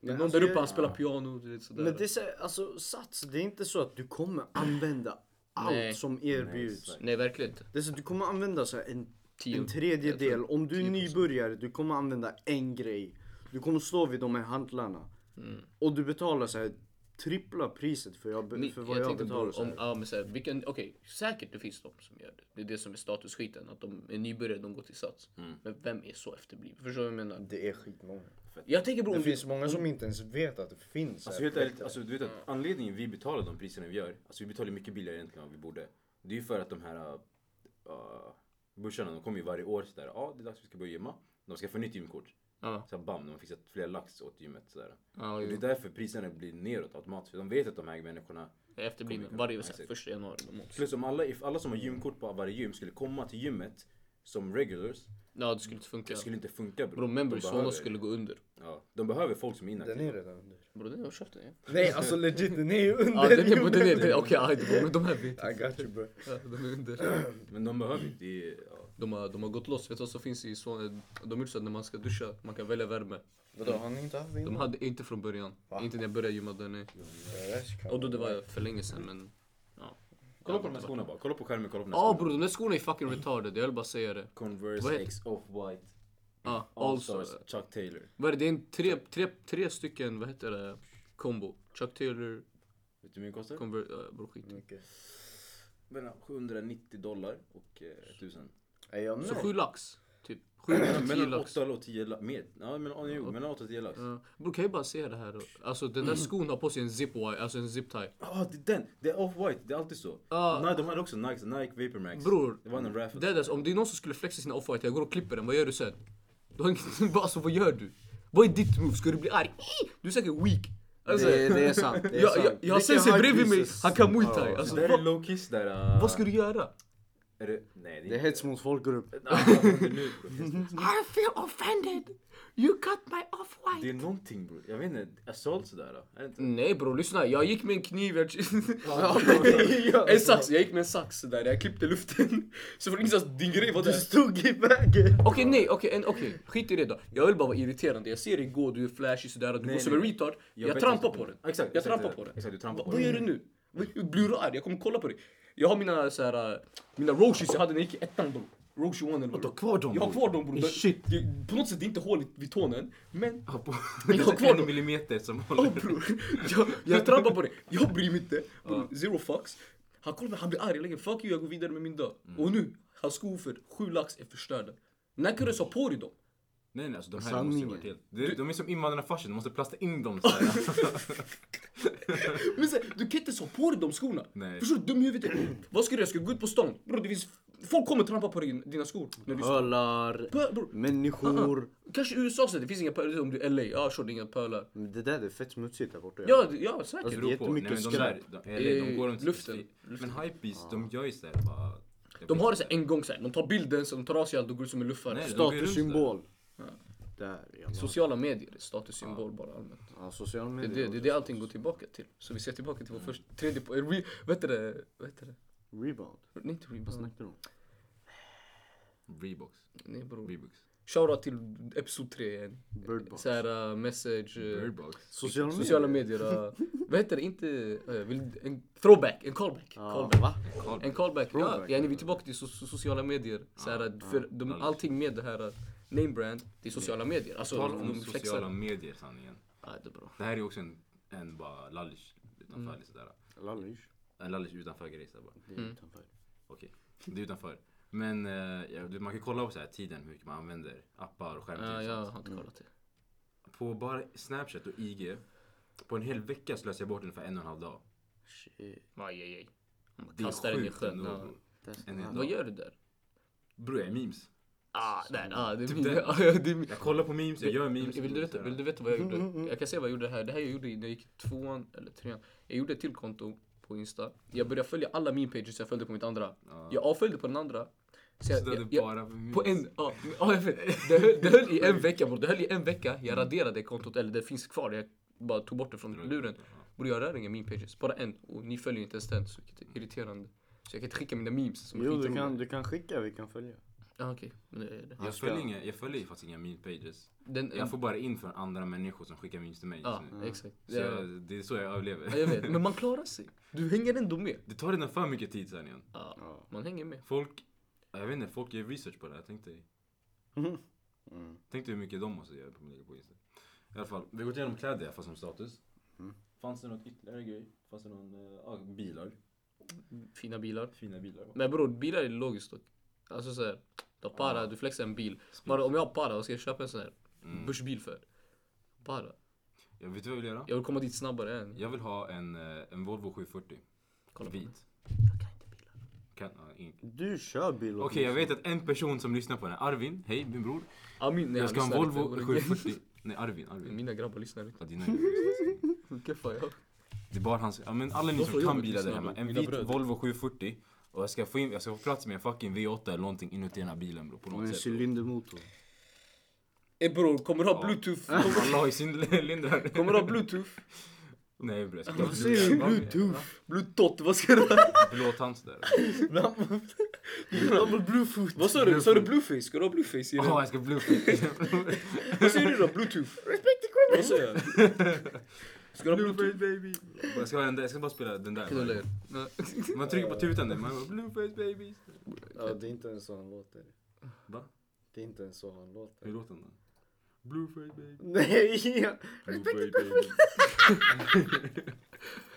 Speaker 1: Det är
Speaker 2: Men
Speaker 1: någon
Speaker 2: alltså,
Speaker 1: där uppe,
Speaker 2: jag-
Speaker 1: han spelar piano, du vet sådär.
Speaker 2: Men det är så, här, alltså sats, det är inte så att du kommer använda allt
Speaker 1: Nej.
Speaker 2: som erbjuds.
Speaker 3: exakt.
Speaker 1: Nej verkligen inte.
Speaker 2: det är så att du kommer använda så här, en,
Speaker 1: Tio-
Speaker 2: en tredjedel.
Speaker 1: jag tror
Speaker 2: Om du är
Speaker 1: 10%.
Speaker 2: nybörjare, du kommer använda en grej. Du kommer stå vid de här hantlarna.
Speaker 1: Mm.
Speaker 2: Och du betalar så här, trippla priset för, jag,
Speaker 1: Ni-
Speaker 2: för vad jag,
Speaker 1: tänkte
Speaker 2: betalar.
Speaker 1: bror,
Speaker 2: så
Speaker 1: om,
Speaker 2: här.
Speaker 1: ja, men så här, vilken, okej, säkert det finns de som gör det. Det är det som är statusskiten, att de är nybörjare, de går till Sats.
Speaker 2: Mm.
Speaker 1: Men vem är så efterbliven? Förstår du vad jag menar?
Speaker 2: Det är skitmånga.
Speaker 1: Jag tänker bror,
Speaker 2: Det
Speaker 1: om
Speaker 2: finns många som inte ens vet att det finns. så
Speaker 3: Alltså
Speaker 2: här
Speaker 3: helt ärligt,
Speaker 2: produkter.
Speaker 3: alltså, du vet att anledningen vi betalar de priserna vi gör, alltså vi betalar mycket billigare egentligen än vad vi borde. Det är ju för att de här, uh, Bursarna äh, de kommer ju varje år sådär. Ja, det är dags vi ska börja gymma. De ska få nytt gymkort.
Speaker 1: Ja, Mm.
Speaker 3: Så bam, de har fixat fler lax åt gymmet. Sådär.
Speaker 1: ja
Speaker 3: Och det är
Speaker 1: jo.
Speaker 3: därför priserna blir neråt automatiskt. För de vet att de här människorna.
Speaker 1: Det är efterbliven.
Speaker 3: Kommer-
Speaker 1: Varje
Speaker 3: Ja,
Speaker 1: så här,
Speaker 3: exakt.
Speaker 1: första januari. de åker.
Speaker 3: Plus om alla, if alla som har gymkort på varje gym skulle komma till gymmet som regulars.
Speaker 1: Ja, det skulle inte funka.
Speaker 3: Det skulle inte funka
Speaker 1: Bro,
Speaker 3: bror.
Speaker 1: members
Speaker 3: De
Speaker 1: såna
Speaker 3: behöver-
Speaker 1: skulle gå under.
Speaker 3: Ja, de behöver folk som är inaktiva.
Speaker 2: Den är redan under.
Speaker 1: Bro, den har jag köpt den. ja.
Speaker 2: Nej alltså legit, den är ju under
Speaker 1: Ja, den är på
Speaker 2: jorden.
Speaker 1: den. är- Okej, aj, det var- men de här vet
Speaker 2: I got you bro.
Speaker 1: Ja, de är under.
Speaker 3: Men de behöver inte. det är- Ja.
Speaker 1: De har, de har gått loss. Vet du vad som finns i så De har gjort så att när man ska duscha, man kan välja värme.
Speaker 2: Vadå har ni inte haft det
Speaker 1: De
Speaker 2: innan?
Speaker 1: hade inte från början.
Speaker 2: Va?
Speaker 1: Inte när jag började gymma. Den är. Och då det var för länge sedan men... Ja.
Speaker 3: Kolla på de här skorna bara. Kolla på skärmen, kolla på den här
Speaker 1: Ja
Speaker 3: skorna.
Speaker 1: bror, de där skorna är fucking retarded. Jag vill bara säga det. Vad
Speaker 3: Converse
Speaker 1: heter-
Speaker 3: X Off-White.
Speaker 1: Ja, alltså-
Speaker 3: All
Speaker 1: also.
Speaker 3: Stars Chuck Taylor.
Speaker 1: Vad är det? Det är en tre, tre, tre stycken, vad heter det? Combo. Chuck Taylor,
Speaker 3: Vet du hur mycket det kostar?
Speaker 1: Convert... Äh, bror skit.
Speaker 2: Mycket.
Speaker 3: Mellan 790 dollar och eh, 1000.
Speaker 2: Är jag
Speaker 1: Så
Speaker 2: med?
Speaker 1: sju lax. Typ. Sju, tio
Speaker 3: Mellan
Speaker 1: lax.
Speaker 3: 8 och 10 lax. Mer. Ja, men, ja, jo, mellan 8 och 10 lax.
Speaker 1: Ja. Bror kan jag bara säga det här? Alltså den där skon har på sig en zip wire, alltså en zip tie.
Speaker 3: Ja, det är den! Det är Off-White, det är alltid så.
Speaker 1: Ja.
Speaker 3: Nej, de hade också Nike, Nike Vapor Max.
Speaker 1: Bror,
Speaker 3: Det var en raffle.
Speaker 1: Det är det, om det är någon som skulle flexa sina off-white, jag går och klipper den, vad gör du sen? Du har ingen, alltså vad gör du? Vad är ditt move? Ska du bli arg? Ih, Du är säkert weak. Alltså,
Speaker 2: Det, det är sant. Det är
Speaker 1: jag, jag,
Speaker 2: sant.
Speaker 1: jag har
Speaker 2: Vilken
Speaker 1: sensei
Speaker 2: high
Speaker 1: bredvid mig,
Speaker 2: priestess.
Speaker 1: han kan muay
Speaker 2: Ja.
Speaker 1: thai. Alltså,
Speaker 3: det där är
Speaker 1: vad,
Speaker 3: low kiss där. Uh,
Speaker 1: vad ska du göra?
Speaker 3: Är det, nej, det
Speaker 2: Det är hets mot folkgrupp.
Speaker 3: är
Speaker 1: I feel offended! You cut my
Speaker 3: Det
Speaker 1: off-white!
Speaker 3: är någonting bror. Jag vet inte, assault sådär då? Är det inte?
Speaker 1: Nej bror, lyssna. Jag gick med en kniv. Jag...
Speaker 2: Ja.
Speaker 1: en sax, jag gick med en sax där. Jag klippte luften. Så från ingenstans, din grej var
Speaker 2: Du
Speaker 1: där.
Speaker 2: stod i vägen.
Speaker 1: Okej nej, okej en- okej. skit i det då. Jag vill bara vara irriterande. Jag ser dig gå, du är flashig sådär och du
Speaker 3: Nej,
Speaker 1: går som
Speaker 3: nej.
Speaker 1: en retard. Jag,
Speaker 3: vet
Speaker 1: trampar
Speaker 3: inte.
Speaker 1: på den.
Speaker 3: Exakt,
Speaker 1: jag
Speaker 3: exakt,
Speaker 1: trampar
Speaker 3: det-
Speaker 1: på den.
Speaker 3: Exakt, du trampar på
Speaker 1: Va- Vad
Speaker 3: den.
Speaker 1: gör du nu? Vad- Blir du arg? Jag kommer kolla på dig. Jag har mina så här, äh, mina roshis jag hade när jag gick i ettan bror. Roshi one eller vad
Speaker 3: du har kvar dem,
Speaker 1: Jag har
Speaker 3: bror?
Speaker 1: kvar dem bror.
Speaker 3: Eh,
Speaker 1: Det-
Speaker 3: shit.
Speaker 1: det- På något sätt det är inte hål i- vid tån än. Men
Speaker 3: Ja, på-
Speaker 1: Jag har kvar
Speaker 3: en
Speaker 1: dem.
Speaker 3: millimeter som
Speaker 1: Ja
Speaker 3: håller.
Speaker 1: bror, jag, jag trampar på det. Jag bryr mig inte. Bror, Zero fucks. Han kollar på mig, han blir arg. Jag lägger fuck you, jag går vidare med min dag.
Speaker 3: Mm.
Speaker 1: Och nu, hans skor för sju lax är förstörda. När
Speaker 3: Mm.
Speaker 1: kan du ha på dig dem?
Speaker 3: Nej nej, alltså de här
Speaker 2: Sanningen.
Speaker 3: måste ju vara till. De, de är som invandrarfarsen, de måste plasta in dem sådär.
Speaker 1: Men så, här, du kan inte så på dig de skorna.
Speaker 3: Nej.
Speaker 1: Förstår du? Dum i huvudet. Vad ska du göra? Ska du gå ut på stan? Bro, det finns... Folk kommer trampa på din, dina skor. När du
Speaker 2: Pölar,
Speaker 1: Pö- bror.
Speaker 2: människor.
Speaker 1: Kanske i USA så det finns inga pölar. Om du är LA, ja sure, det är inga pölar.
Speaker 2: Men Det där det är fett smutsigt där borta.
Speaker 1: Ja, det- ja säkert.
Speaker 2: Alltså,
Speaker 3: Det beror på. Nej,
Speaker 2: Jättemycket
Speaker 3: men de där,
Speaker 2: skräp.
Speaker 3: de, eller, de
Speaker 1: I
Speaker 3: går runt
Speaker 1: luften.
Speaker 3: Men hypebeast, de gör ju sådär bara.
Speaker 1: de har det så här en gång så här. De tar bilden, så de tar av sig allt och går ut som en luffare.
Speaker 3: Nej, de går ju runt
Speaker 2: Statussymbol. Där ja.
Speaker 1: Sociala medier är statussymbol bara allmänt.
Speaker 2: ja social
Speaker 1: Det är
Speaker 2: media.
Speaker 1: det, det, är det allting går tillbaka till. Så vi ser tillbaka till vår första, tredje, po- eh, re, vad heter det, vad heter det?
Speaker 2: Rebound.
Speaker 1: Nej inte
Speaker 2: Vad
Speaker 1: rebound.
Speaker 2: snackar du om?
Speaker 3: Reeboks.
Speaker 1: Nej bror.
Speaker 3: Reeboks.
Speaker 1: Shoutout till episod 3 igen.
Speaker 2: Birdbox.
Speaker 1: Såhär uh, message. eh,
Speaker 3: Birdbox.
Speaker 2: Sociala medier.
Speaker 1: Sociala medier. eh, vad heter det? Inte... eh, vill, en throwback. En callback.
Speaker 2: Ja,
Speaker 1: callback.
Speaker 2: va?
Speaker 1: En callback. Ja,
Speaker 2: Throwback.
Speaker 1: ja, vi är tillbaka till so so sociala medier. Så här, att för de, allting med det här eh, name brand, det är sociala medier. Alltså,
Speaker 3: Tala
Speaker 1: de
Speaker 3: om
Speaker 1: flexar.
Speaker 3: sociala medier sanningen.
Speaker 1: Ja, det är bra.
Speaker 3: Det här är ju också en, en bara lallish utanför.
Speaker 1: Mm.
Speaker 3: eller Sådär.
Speaker 2: Lallish.
Speaker 3: En lallish utanför Greystad bara.
Speaker 2: Det är utanför.
Speaker 3: Okej, det är utanför. Men eh, ja, du- man kan kolla på så här tiden, hur mycket man använder appar och skärmtid
Speaker 1: Ja,
Speaker 3: och
Speaker 1: Ah, jag
Speaker 3: sånt.
Speaker 1: har inte kollat det.
Speaker 3: På bara Snapchat och IG, på en hel vecka slösar jag bort ungefär en och en halv dag.
Speaker 2: Shit.
Speaker 1: Aj, aj, aj. Man
Speaker 3: Det är
Speaker 1: Mm, kastar den i
Speaker 3: sjukt
Speaker 1: sjön.
Speaker 3: ändå.
Speaker 1: Ja.
Speaker 3: bror.
Speaker 2: That's
Speaker 3: En hel
Speaker 1: Vad
Speaker 3: dag.
Speaker 1: gör du där?
Speaker 3: Bror jag är memes.
Speaker 1: Ah, där. Ah, det är
Speaker 3: Typ
Speaker 1: min.
Speaker 3: den.
Speaker 1: Ja, det är min.
Speaker 3: Jag kollar på memes, jag gör memes.
Speaker 1: Vill du, veta, vill du veta vad jag gjorde? Jag kan säga vad jag gjorde här. Det här jag gjorde när jag gick i tvåan eller trean. Jag gjorde ett till konto på Insta. Jag började följa alla meme pages jag följde på mitt andra.
Speaker 3: Ja.
Speaker 1: Jag avföljde på den andra. Så jag,
Speaker 3: Så det är
Speaker 1: jag,
Speaker 3: det
Speaker 1: jag,
Speaker 3: bara för memes.
Speaker 1: på en, ja, men- ja, jag vet. Det höll, det höll i en vecka bror. Det höll i en vecka. Jag raderade kontot, eller det finns kvar. Jag bara tog bort det från luren. Bror jag rör inga meme pages. Bara en. Och ni följer inte ens den. Så vilket är irriterande. Så jag kan inte skicka mina memes som är
Speaker 2: Jo, du
Speaker 1: skitroliga.
Speaker 2: kan, du kan skicka, vi kan följa.
Speaker 1: Ja, okej. Men det är det.
Speaker 3: Jag följer, inga, jag följer ju faktiskt inga meme pages.
Speaker 1: Den,
Speaker 3: Jag får bara in från andra människor som skickar memes till mig
Speaker 1: Ja,
Speaker 3: just nu.
Speaker 1: exakt.
Speaker 3: Så
Speaker 1: Ja.
Speaker 3: jag, det är så jag
Speaker 1: Ja, jag
Speaker 3: överlever.
Speaker 1: vet, men man klarar sig. Du hänger ändå med.
Speaker 3: Det tar redan för mycket tid sanningen.
Speaker 1: Ja,
Speaker 2: Ja.
Speaker 1: man hänger med.
Speaker 3: Folk, jag vet inte, folk gör research på det här. Tänk dig.
Speaker 1: Mm-hmm.
Speaker 2: Mm. Mm.
Speaker 3: Tänk dig hur mycket de måste göra på att lägga på Insta. I alla fall, vi har gått igenom kläder i alla fall som status.
Speaker 1: Mm-hmm.
Speaker 2: Mm.
Speaker 3: Fanns det något ytterligare grej? Fanns det någon, eh, ja, bilar?
Speaker 1: Fina bilar.
Speaker 3: Fina bilar?
Speaker 1: Men bror, bilar är logiskt dock. Alltså såhär, du har para, du flexar en bil. Bara, om jag har para, vad ska jag köpa en sån här
Speaker 3: Mm.
Speaker 1: börsbil för? Para.
Speaker 3: Jag vet du vad jag vill göra?
Speaker 1: Jag vill komma dit snabbare än.
Speaker 3: Jag vill ha en, eh, en Volvo 740.
Speaker 1: Kolla på
Speaker 3: Vit.
Speaker 1: Jag kan inte bilar.
Speaker 3: Kan, ja, ingen- Okej,
Speaker 2: Du kör bil
Speaker 3: jag vet att en person som lyssnar på den här, Arvin, hej min bror.
Speaker 1: Amin, nej,
Speaker 3: jag ska ha en
Speaker 1: han lyssnar
Speaker 3: Volvo
Speaker 1: inte.
Speaker 3: 740. Nej, Arvin, Arvin.
Speaker 1: Mina grabbar lyssnar inte.
Speaker 3: Ja, dina grejer.
Speaker 1: Keffa, ja.
Speaker 3: Det är bara hans, ja men alla ni
Speaker 1: Varför
Speaker 3: som
Speaker 1: jobbar
Speaker 3: kan
Speaker 1: du
Speaker 3: bilar där
Speaker 1: snabbt?
Speaker 3: hemma. En
Speaker 1: Mina
Speaker 3: vit
Speaker 1: bröder.
Speaker 3: Volvo 740. Och jag ska få in, jag ska få plats med en fucking V8 eller någonting inuti den här bilen bro. På
Speaker 2: Och en
Speaker 3: något sätt.
Speaker 2: cylindermotor.
Speaker 1: Ey Eh, bror, kommer du ha
Speaker 3: Ja.
Speaker 1: bluetooth?
Speaker 3: Alla har ju sin lindrar.
Speaker 1: Kommer du ha bluetooth?
Speaker 3: Nej bror, jag ska ha
Speaker 2: Vad säger du?
Speaker 3: Vad menar jag?
Speaker 2: Bluetooth?
Speaker 1: Bluetooth, vad ska du ha?
Speaker 3: Blå tant där.
Speaker 2: Bluetooth? Ah.
Speaker 1: Vad sa du? Sa du blueface? Ska du ha blueface i
Speaker 3: Ja,
Speaker 1: den?
Speaker 3: jag ska bluetooth.
Speaker 1: Vad säger du då? Bluetooth? Vad sa jag? Ska du ha bluetooth?
Speaker 2: baby.
Speaker 3: Jag ska, ha den där, jag ska bara spela den där.
Speaker 1: Knulla
Speaker 3: Man trycker på tutan där, man bara blueface babies.
Speaker 2: Ja, det är inte ens så han låter.
Speaker 3: Va?
Speaker 2: Det är inte ens så han låter.
Speaker 3: Hur låter den då? Blueface baby.
Speaker 2: Nej! ja.
Speaker 3: Blueface baby.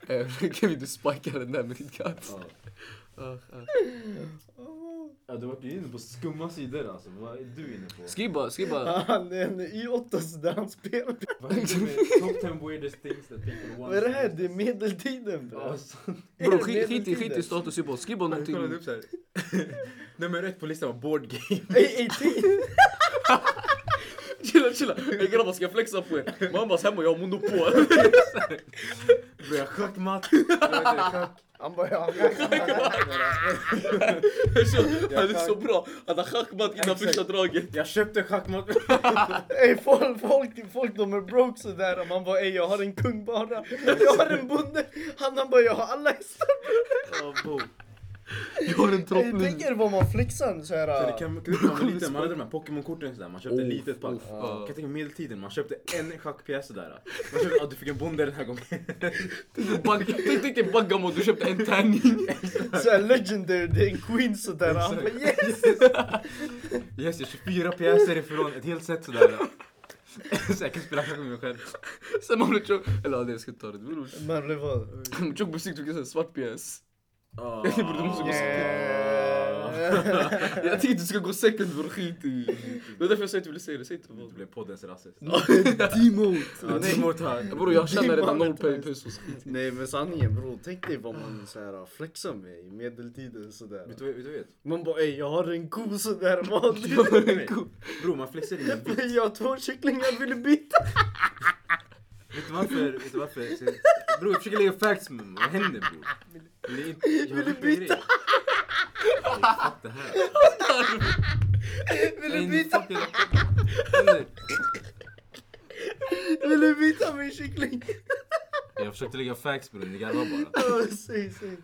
Speaker 1: Eh, Kan vi inte spika den där med ditt katt?
Speaker 3: Ja. Ja, du vart ju inne på skumma sidor alltså. Vad är du inne på?
Speaker 1: Skriv bara, skriv bara.
Speaker 2: Han är en I8 där han spelar.
Speaker 3: Vad är det med top 10 weirdest things that people want?
Speaker 2: Vad är det här? Det är medeltiden bror.
Speaker 3: Alltså,
Speaker 1: Bror skit, skit, i- skit i status symbol. Skriv bara
Speaker 3: jag
Speaker 1: någonting.
Speaker 3: kollade upp såhär. Nummer ett på listan var board game.
Speaker 2: Ey, ey, tid!
Speaker 1: Chilla, chilla. Ey grabbar, ska jag flexa på er? Mammas hemma, jag har monopol.
Speaker 3: Bro, jag schackmatt.
Speaker 2: Han bara, ja, jag kan
Speaker 1: Han är så bra. Han har schackmatt innan första draget.
Speaker 3: Jag köpte schackmatt.
Speaker 2: Ey, folk, folk, folk de är broke sådär. Man bara, ey, jag har en kung bara. Jag har en bonde. Han, han bara, jag har alla hästar.
Speaker 3: Ja, bo.
Speaker 1: Jag har en
Speaker 2: Ey, tänk er vad man flexar såhär.
Speaker 3: Det kan man klippa man liten, man hade de här Pokémon-korten sådär, man köpte
Speaker 1: Oh,
Speaker 3: ett litet pack.
Speaker 1: oh,
Speaker 3: Kan
Speaker 1: ja.
Speaker 3: jag tänka mig medeltiden, man köpte en schackpjäs sådär. Man köpte, ah, du fick en bonde den här gången.
Speaker 1: Tänk tänk dig Baggamon, du köpte en tärning.
Speaker 2: Såhär legendary, det är en queen sådär. Han bara,
Speaker 3: Exakt.
Speaker 2: yes!
Speaker 3: Yes, jag är 24 pjäser ifrån ett helt set sådär. Så jag kan spela schack med mig själv.
Speaker 1: Sen man blev tjock. Eller ja, det jag ska ta det. Det beror.
Speaker 2: Man blev vad?
Speaker 1: Tjock musik tog jag en svart pjäs.
Speaker 3: Ah.
Speaker 1: Det borde också gå Jag tänkte du ska gå second bror, skit i. Det var därför jag sa att jag ville säga det. Säg inte
Speaker 3: Det
Speaker 1: vad.
Speaker 3: blev poddens rasist. Ja,
Speaker 2: Demot!
Speaker 3: det är mot här.
Speaker 1: Bror jag tjänar redan
Speaker 2: Mannen
Speaker 1: noll
Speaker 2: till vänster.
Speaker 1: pesos.
Speaker 2: Nej men sanningen bror, tänk dig vad man såhär flexar med i medeltiden sådär.
Speaker 3: Vet du vad vet du vad jag vet?
Speaker 2: Man bara ey jag har en ko sådär vanligt.
Speaker 3: Bro, man flexar in en bit.
Speaker 2: Jag har två kycklingar, vill du byta?
Speaker 3: Vet du varför? Vet du varför? Så- Bro, jag försöker lägga facts men vad händer bror? Det är inte- jag
Speaker 2: Vill du
Speaker 3: vet inte
Speaker 2: byta?
Speaker 3: grej. Ey, fuck det här.
Speaker 2: Vill
Speaker 3: Ey,
Speaker 2: du
Speaker 3: nu
Speaker 2: byta?
Speaker 3: fuck jag- Vad händer?
Speaker 2: Vill du byta min kyckling?
Speaker 3: Jag försökte lägga facts bror, ni garvar bara.
Speaker 2: Ja, Säg, säg.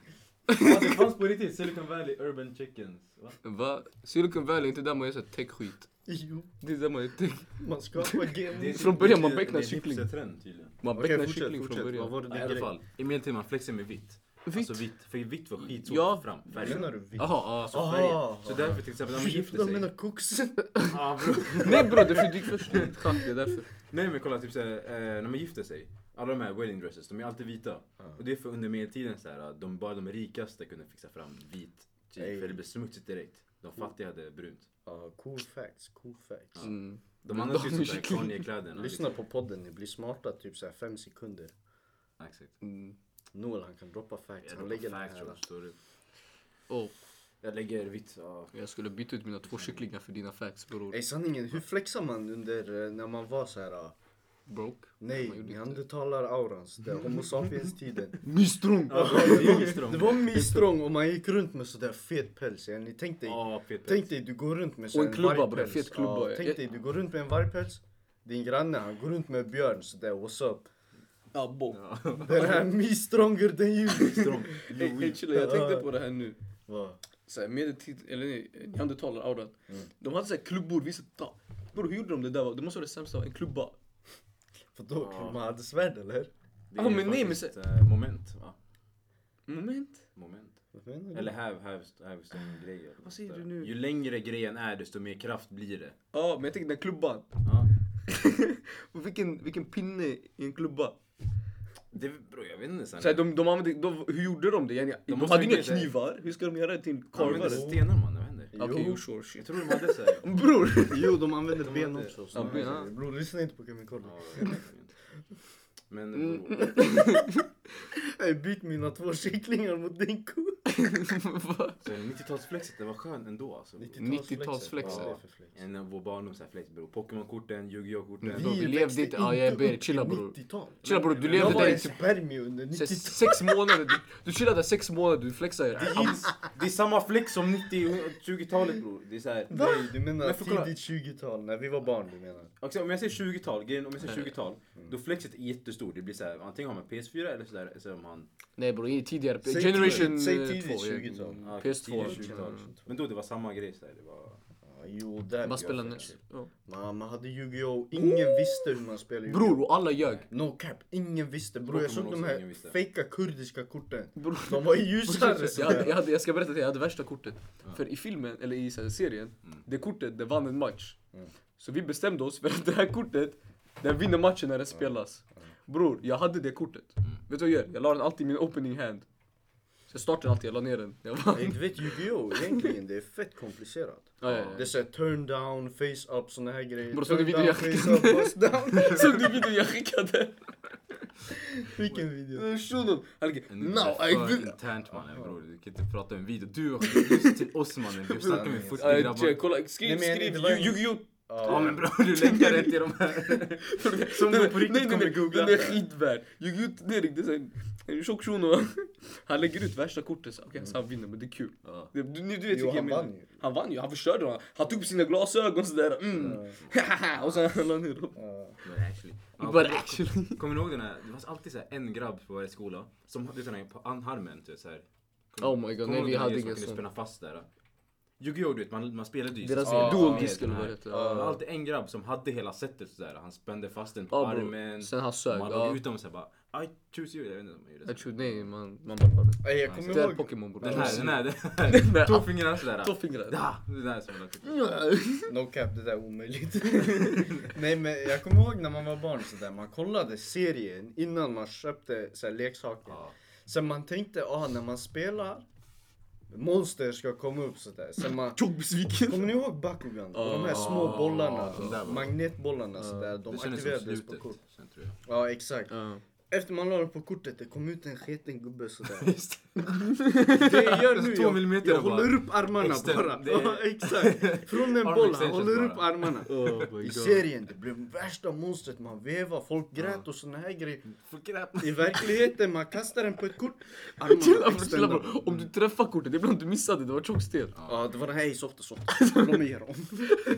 Speaker 3: Det fanns på riktigt Silicon Valley Urban Chickens.
Speaker 1: Va? Silicon Valley är inte där man gör såhär tech-skit.
Speaker 2: Jo,
Speaker 1: Det är där man gör tech.
Speaker 2: man skapar game.
Speaker 3: typ
Speaker 1: Från början man becknar kyckling.
Speaker 3: trend tydligen.
Speaker 1: Man
Speaker 2: Okej,
Speaker 1: becknar
Speaker 2: fortsätt,
Speaker 1: kyckling från
Speaker 2: fortsätt.
Speaker 1: början.
Speaker 2: Vad var det
Speaker 3: I
Speaker 2: din
Speaker 3: alla
Speaker 2: grej?
Speaker 3: fall, i medeltid man flexar med vitt.
Speaker 1: Vitt?
Speaker 3: Alltså vitt, för vitt var skitsvårt
Speaker 1: Ja.
Speaker 3: att få fram. Färgen.
Speaker 2: Menar du vitt?
Speaker 1: Jaha, ja. alltså,
Speaker 2: Ah.
Speaker 3: Så färgen.
Speaker 2: Aha.
Speaker 3: Så därför till exempel när man gifter
Speaker 2: Jag menar
Speaker 3: sig.
Speaker 2: koksen.
Speaker 3: Ah, bro.
Speaker 1: Nej bror, det är du gick först i schack, det är därför.
Speaker 3: Nej men kolla, typ såhär, eh, när man gifter sig. Alla de här wedding dresses, de är alltid vita. Och det är för under medeltiden så här, de, bara de rikaste kunde fixa fram vit.
Speaker 2: Ey.
Speaker 3: Typ, för det blev smutsigt direkt. De fattiga hade brunt.
Speaker 2: Ja, Ah, cool facts, cool facts.
Speaker 1: Mm.
Speaker 3: De
Speaker 1: Men
Speaker 3: andra
Speaker 1: de
Speaker 3: ser ut som
Speaker 1: är
Speaker 3: såhär Kanye-kläderna.
Speaker 2: Lyssna på podden, ni blir smarta typ såhär fem sekunder.
Speaker 3: Ja, Exakt.
Speaker 1: Mm.
Speaker 2: Noel han kan droppa facts,
Speaker 3: Jag
Speaker 2: han
Speaker 3: lägger
Speaker 2: lägger den
Speaker 3: facts,
Speaker 2: här.
Speaker 3: jag förstår du.
Speaker 1: Och
Speaker 3: Jag lägger vitt, ja.
Speaker 1: jag skulle byta ut mina två kycklingar för dina facts bror.
Speaker 2: Ey sanningen, hur flexar man under eh, när man var såhär? ah,
Speaker 1: Broke.
Speaker 2: Nej,
Speaker 1: Man gjorde inte.
Speaker 2: neandertalar-aurans, det är homo sapiens-tiden.
Speaker 1: Mistrong!
Speaker 3: Ja, det är ju strong.
Speaker 2: Det var mysstrång och man gick runt med sådär fet päls. Ja, ni tänk dig,
Speaker 3: Ja, fet
Speaker 2: tänk dig du går runt med
Speaker 1: Och
Speaker 2: sådär
Speaker 1: en klubba,
Speaker 2: vargpäls.
Speaker 1: bre, fet klubba,
Speaker 2: Ja,
Speaker 1: ja.
Speaker 2: tänk dig du går runt med en vargpäls. Din granne han går runt med björn sådär what's up.
Speaker 1: Ja, bo.
Speaker 2: Den här mysstrånger den ju.
Speaker 3: Strong.
Speaker 1: Ey, ey, chilla, jag tänkte på det här nu.
Speaker 2: Vad?
Speaker 1: Såhär medeltid, eller nej, neandertalar-auran. De hade såhär klubbor, vissa... Ja. Bror hur gjorde de det där? Det måste vara det sämsta, en klubba.
Speaker 2: Vadå?
Speaker 3: Ja.
Speaker 2: Man hade svärd eller?
Speaker 3: Det är
Speaker 1: Ja, men nej, men
Speaker 3: faktiskt, eh, moment, va?
Speaker 1: Moment?
Speaker 3: Moment.
Speaker 2: Vad menar du?
Speaker 3: Eller häv, häv, hävstång grejer.
Speaker 1: Vad säger du nu?
Speaker 3: Ju längre grejen är desto mer kraft blir det.
Speaker 1: Ja, men jag tänkte den här klubban.
Speaker 3: Ja.
Speaker 1: Och vilken, vilken pinne i en klubba.
Speaker 3: Det, bro, jag vet inte. Sen.
Speaker 1: Såhär, de, de använde, de, hur gjorde de det? Yani, De,
Speaker 3: måste
Speaker 1: hade
Speaker 3: ju
Speaker 1: inga
Speaker 3: inte-
Speaker 1: knivar, hur ska de göra det till en
Speaker 3: de använder
Speaker 1: korvare?
Speaker 3: stenar man, jag vet inte.
Speaker 1: Okej,
Speaker 2: Jo.
Speaker 1: jo sure
Speaker 3: Jag
Speaker 1: shit.
Speaker 3: tror de hade såhär.
Speaker 1: Bror!
Speaker 2: Jo, de använder
Speaker 3: De
Speaker 2: ben
Speaker 3: hade-
Speaker 2: också.
Speaker 1: Ja, ben, ja.
Speaker 2: Bror, lyssna inte på Kevin Collins.
Speaker 3: Ja, jag vet inte. men eh, bro, Mm.
Speaker 2: Jag byt mina två kycklingar mot din ko.
Speaker 1: Va?
Speaker 3: Så 90-talsflexet, det var skön ändå alltså.
Speaker 1: 90-talsflexet.
Speaker 2: Vad är det för flex?
Speaker 3: En av vår barndoms här flex bror. Pokémon-korten, Yu-Gi-Oh-korten.
Speaker 1: Vi- levde
Speaker 2: växte
Speaker 1: inte- ja, jag ber dig,
Speaker 2: upp
Speaker 1: chilla,
Speaker 2: i
Speaker 1: bror.
Speaker 2: 90-tal.
Speaker 1: Chilla bror, du
Speaker 2: Jag
Speaker 1: levde
Speaker 2: var
Speaker 1: där i
Speaker 2: en
Speaker 1: typ
Speaker 2: spermie under
Speaker 1: se-
Speaker 2: 90-talet.
Speaker 1: sex månader. Du, du chillade där sex månader, du flexade.
Speaker 3: Det
Speaker 1: era
Speaker 3: är, det är samma flex som 90 20-talet bror. Det är så här.
Speaker 2: Nej, du menar
Speaker 3: Men för kolla-
Speaker 2: tidigt 20-tal, när vi var barn du menar.
Speaker 3: Också, om jag säger 20-tal, grejen, om jag säger 20-tal, då flexet är jättestort. Det blir så här, antingen har man PS4 eller så där, så om man...
Speaker 1: Nej bror, i tidigare.
Speaker 2: Säg
Speaker 1: Generation
Speaker 2: tidigt- säg
Speaker 1: eh,
Speaker 2: tidigt
Speaker 1: två, ja.
Speaker 2: 20-tal.
Speaker 3: ja,
Speaker 1: PS2.
Speaker 3: tidigt 20-tal. Men då det var samma grej så här, det var...
Speaker 2: Ja, jo, där.
Speaker 1: Bara spela
Speaker 2: jag
Speaker 1: nu.
Speaker 2: fattar.
Speaker 1: Ja.
Speaker 2: Man, man hade Yu-Gi-Oh! Ingen visste hur man spelade Yu-Gi-Oh!
Speaker 1: Bror, och alla ljög.
Speaker 2: No cap, ingen visste. Bror jag
Speaker 3: Pokémon
Speaker 2: såg de
Speaker 3: också, ingen
Speaker 2: här
Speaker 3: visste.
Speaker 2: fejka kurdiska korten.
Speaker 1: Bror.
Speaker 2: De var ju
Speaker 1: Jag,
Speaker 2: ljusare
Speaker 1: hade,
Speaker 2: sådär.
Speaker 1: jag, hade, jag ska berätta att jag hade värsta kortet. För i filmen, eller i så här serien,
Speaker 3: Mm.
Speaker 1: det kortet det vann en match. Så vi bestämde oss för att det här kortet, den vinner matchen när det spelas. Bror, jag hade det kortet.
Speaker 3: Mm.
Speaker 1: Vet du vad jag gör? Jag la den alltid i min opening hand. Så jag startade alltid, jag la ner den. Jag bara,
Speaker 2: Nej, du vet Yu-Gi-Oh! egentligen, det är fett komplicerat.
Speaker 1: Ja, ja, ja.
Speaker 2: Det är såhär turn down, face up, såna här grejer.
Speaker 1: Bror, såg
Speaker 2: turn
Speaker 1: du videon
Speaker 2: down,
Speaker 1: jag
Speaker 2: face up, bust down.
Speaker 1: Såg du videon jag skickade?
Speaker 2: Vilken video?
Speaker 1: Shunon! Han gick,
Speaker 3: Men
Speaker 1: No,
Speaker 3: det är
Speaker 1: I
Speaker 3: för
Speaker 1: will...
Speaker 3: internt mannen bror, du kan inte prata om en video. Du har skickat ljus till oss mannen, du snackar med 40
Speaker 1: Ja, tjej,
Speaker 3: grabbar.
Speaker 1: kolla,
Speaker 2: Nej,
Speaker 1: skriv,
Speaker 2: men jag-
Speaker 1: skriv,
Speaker 2: det var ju-
Speaker 1: Yu-Gi-Oh!
Speaker 3: Ja men bror du länkar rätt till de här.
Speaker 1: Som
Speaker 3: du på riktigt kommer googla.
Speaker 1: Den är skitvärd. Gick ut Erik, det är så en- en tjock shuno. Han lägger ut värsta kortet så okej så han vinner men det är kul.
Speaker 3: Ja.
Speaker 1: Det- Du, ni- du vet
Speaker 2: Jo,
Speaker 1: vilken
Speaker 2: han
Speaker 1: jag menar.
Speaker 2: vann ju.
Speaker 1: Han vann ju, han förstörde honom. Han tog på sina glasögon sådär. Mm. och sen han la ner dem.
Speaker 3: Men actually. Ja,
Speaker 1: But actually.
Speaker 3: Kommer ni ihåg den här, det var alltid så här en grabb på varje skola som hade den här på anharmen typ såhär.
Speaker 1: Oh my god, nej, vi hade ingen
Speaker 3: sån.
Speaker 1: sån.
Speaker 3: kunde spänna fast där. Yu-Gi-Oh du vet man, man spelade ju.
Speaker 1: Deras
Speaker 3: Ja,
Speaker 1: dual
Speaker 3: ja,
Speaker 1: disc eller
Speaker 3: den
Speaker 1: vad
Speaker 3: här.
Speaker 1: det heter.
Speaker 3: Det var alltid en grabb som hade hela setet sådär. Han spände fast den på
Speaker 1: Ja, bror.
Speaker 3: armen.
Speaker 1: Sen han sög,
Speaker 3: Man
Speaker 1: ja.
Speaker 3: låg ut dem såhär bara I choose you. Jag vet inte om man gjorde
Speaker 1: Jag
Speaker 3: så.
Speaker 1: tror nej man, man bara har
Speaker 2: Nej, jag
Speaker 1: det.
Speaker 2: kommer
Speaker 1: Det är
Speaker 2: ihåg
Speaker 1: Pokémon bror.
Speaker 3: Den här, den här, den
Speaker 1: Den
Speaker 3: här.
Speaker 1: här,
Speaker 3: Två
Speaker 1: ah.
Speaker 3: fingrar sådär.
Speaker 1: Två fingrar.
Speaker 3: Ja, det där som man
Speaker 2: Mm.
Speaker 3: tycker.
Speaker 2: No cap, det där är omöjligt. Nej men jag kommer ihåg när man var barn sådär, man kollade serien innan man köpte så här, leksaker.
Speaker 3: Ja.
Speaker 2: Sen man tänkte, ah när man spelar, monster ska komma upp sådär. Sen man...
Speaker 1: Tjock besviken.
Speaker 2: Kommer ni ihåg Bakugan? Och de här små bollarna,
Speaker 3: Ah, de där var- Ah,
Speaker 2: magnetbollarna sådär, de
Speaker 3: Det kändes som
Speaker 2: aktiverades på
Speaker 3: slutet. Ah.
Speaker 2: kort.
Speaker 3: Sen tror jag.
Speaker 2: Ja exakt.
Speaker 1: Ja.
Speaker 2: Efter man la det på kortet, det kom ut en sketen gubbe sådär.
Speaker 3: Visst.
Speaker 2: Det jag gör nu,
Speaker 3: Två
Speaker 2: jag,
Speaker 3: millimeter
Speaker 2: jag
Speaker 3: bara.
Speaker 2: håller upp armarna
Speaker 3: Extern-
Speaker 2: bara.
Speaker 3: det är-
Speaker 2: Ja, exakt. Från en
Speaker 3: Arm
Speaker 2: boll, han
Speaker 3: extensions
Speaker 2: håller upp
Speaker 3: bara.
Speaker 2: armarna.
Speaker 1: Oh
Speaker 2: I serien, det blev värsta monstret. Man vevar, folk grät och såna här grejer. I verkligheten, man kastar den på ett kort.
Speaker 1: Chilla
Speaker 2: Armarna
Speaker 1: bror, chilla
Speaker 2: extended.
Speaker 1: bror. Om du träffar kortet, det är ibland du missade, det var tjock stel.
Speaker 2: Ja, det var den här i softa softa. Låt mig ge dem.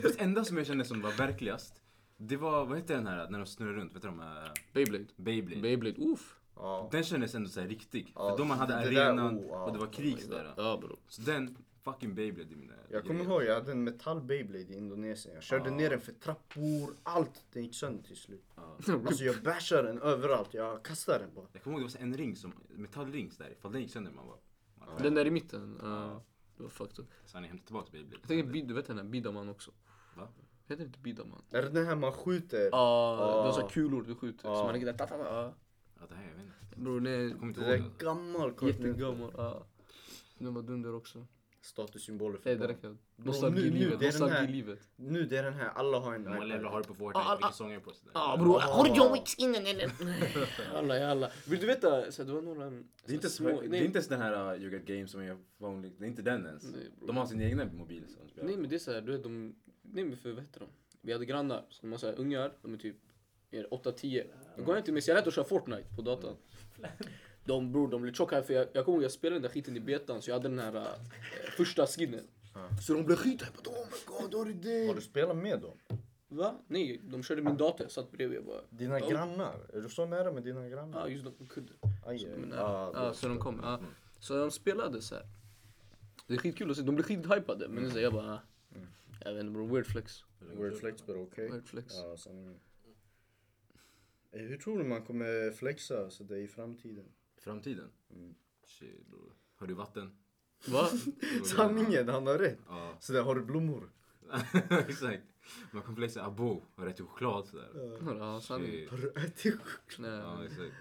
Speaker 3: Det enda som jag kände som var verkligast, det var, vad heter den här när de snurrar runt, vet du de här
Speaker 1: Beyblade.
Speaker 3: Beyblade?
Speaker 1: Beyblade, ooff.
Speaker 2: Ja.
Speaker 3: Den kändes ändå såhär riktig,
Speaker 2: Ja,
Speaker 3: för då man hade
Speaker 2: det där,
Speaker 3: arenan
Speaker 2: oh, ja.
Speaker 3: och det var krig sådär.
Speaker 1: Ja bror.
Speaker 3: Så den, fucking Beyblade i mina
Speaker 2: Jag kommer ihåg, jag hade en metall Beyblade i Indonesien. Jag körde ner den för trappor, allt. Den gick sönder till slut. Alltså jag bashar den överallt. Jag kastar den bara.
Speaker 3: Jag kommer ihåg det var så en ring som, metallring sådär, ifall den gick sönder man bara... Man,
Speaker 1: Den där i mitten. ja. det var fucked up.
Speaker 3: Så ni hämtade tillbaka Beyblade.
Speaker 1: Jag tänker, Bid- du vet den här Bidaman också?
Speaker 3: Va?
Speaker 1: Heter det inte Bidaman?
Speaker 2: Är det den här man skjuter?
Speaker 1: Ja, ah, det var så kulor du skjuter. Så man ligger där. ta, ta, ta, ah.
Speaker 3: Ja det här, jag vet inte.
Speaker 1: Bror nej,
Speaker 3: Jag kommer inte
Speaker 2: Det
Speaker 3: ihåg.
Speaker 2: är gammal kort.
Speaker 1: jättegammal. Ah. Den var dunder också.
Speaker 2: Statussymboler
Speaker 1: Nej
Speaker 2: för
Speaker 1: det
Speaker 2: barn.
Speaker 1: räcker.
Speaker 2: nu- nu,
Speaker 1: Nostalgilivet,
Speaker 2: det är den här-
Speaker 1: nostalgilivet.
Speaker 2: Nu det är den här, alla har en
Speaker 3: Hur många
Speaker 2: iPad.
Speaker 3: levlar har du på Fortnite?
Speaker 1: Ah, ah,
Speaker 3: Vilka sånger är på sådär?
Speaker 1: Ja ah, bror,
Speaker 2: Ah.
Speaker 1: har du John Wicks innan eller? Jalla jalla. Vill du veta? Så det var några...
Speaker 3: Det är, inte
Speaker 1: små...
Speaker 3: små,
Speaker 1: nej,
Speaker 3: det är inte ens den här uh, You Got Game som är vanlig. Det är inte den ens.
Speaker 1: Nej, bror.
Speaker 3: de har sin egna mobil som spelar.
Speaker 1: Nej men det är såhär, du vet de... Nej men för vad heter de? Vi hade grannar, så de var såhär ungar, de är typ 8-10. Då går jag till mig så jag lät dem köra Fortnite på datorn. De bror, de blev chockade för jag, jag kommer ihåg jag spelade den där skiten i betan så jag hade den här eh, första skinnen. Så de blev skithypade, oh my god har du
Speaker 2: Har
Speaker 1: det?
Speaker 2: du spelat med dem?
Speaker 1: Va? Nej, de körde min dator, jag satt bredvid jag bara...
Speaker 2: Dina
Speaker 1: Ja.
Speaker 2: grannar? Är du så nära med dina grannar?
Speaker 1: Ja just det, de kunde.
Speaker 2: Aj, aj,
Speaker 1: Men,
Speaker 2: aj.
Speaker 1: ja,
Speaker 2: Ah,
Speaker 1: ja, så de kom. Ja. Så de spelade så här. Det är skitkul att se, de blir skithypade. Men det är så här, jag bara... ah. Jag vet inte bror, weird flex.
Speaker 2: Word flex, but okej.
Speaker 1: Weird flex.
Speaker 2: Ja, sanningen. Eh, Hur tror du man kommer flexa så det i framtiden?
Speaker 3: Framtiden?
Speaker 4: Mm.
Speaker 3: Shit, bror. Har du vatten?
Speaker 1: Va?
Speaker 2: Sanningen, han har rätt.
Speaker 3: Ja,
Speaker 2: Så där, har du blommor?
Speaker 3: exakt. Man kommer flexa abo och rätt till choklad sådär.
Speaker 1: Ja, sanning.
Speaker 3: Shit.
Speaker 2: Har du ätit choklad?
Speaker 1: Nej.
Speaker 3: Ja, exakt.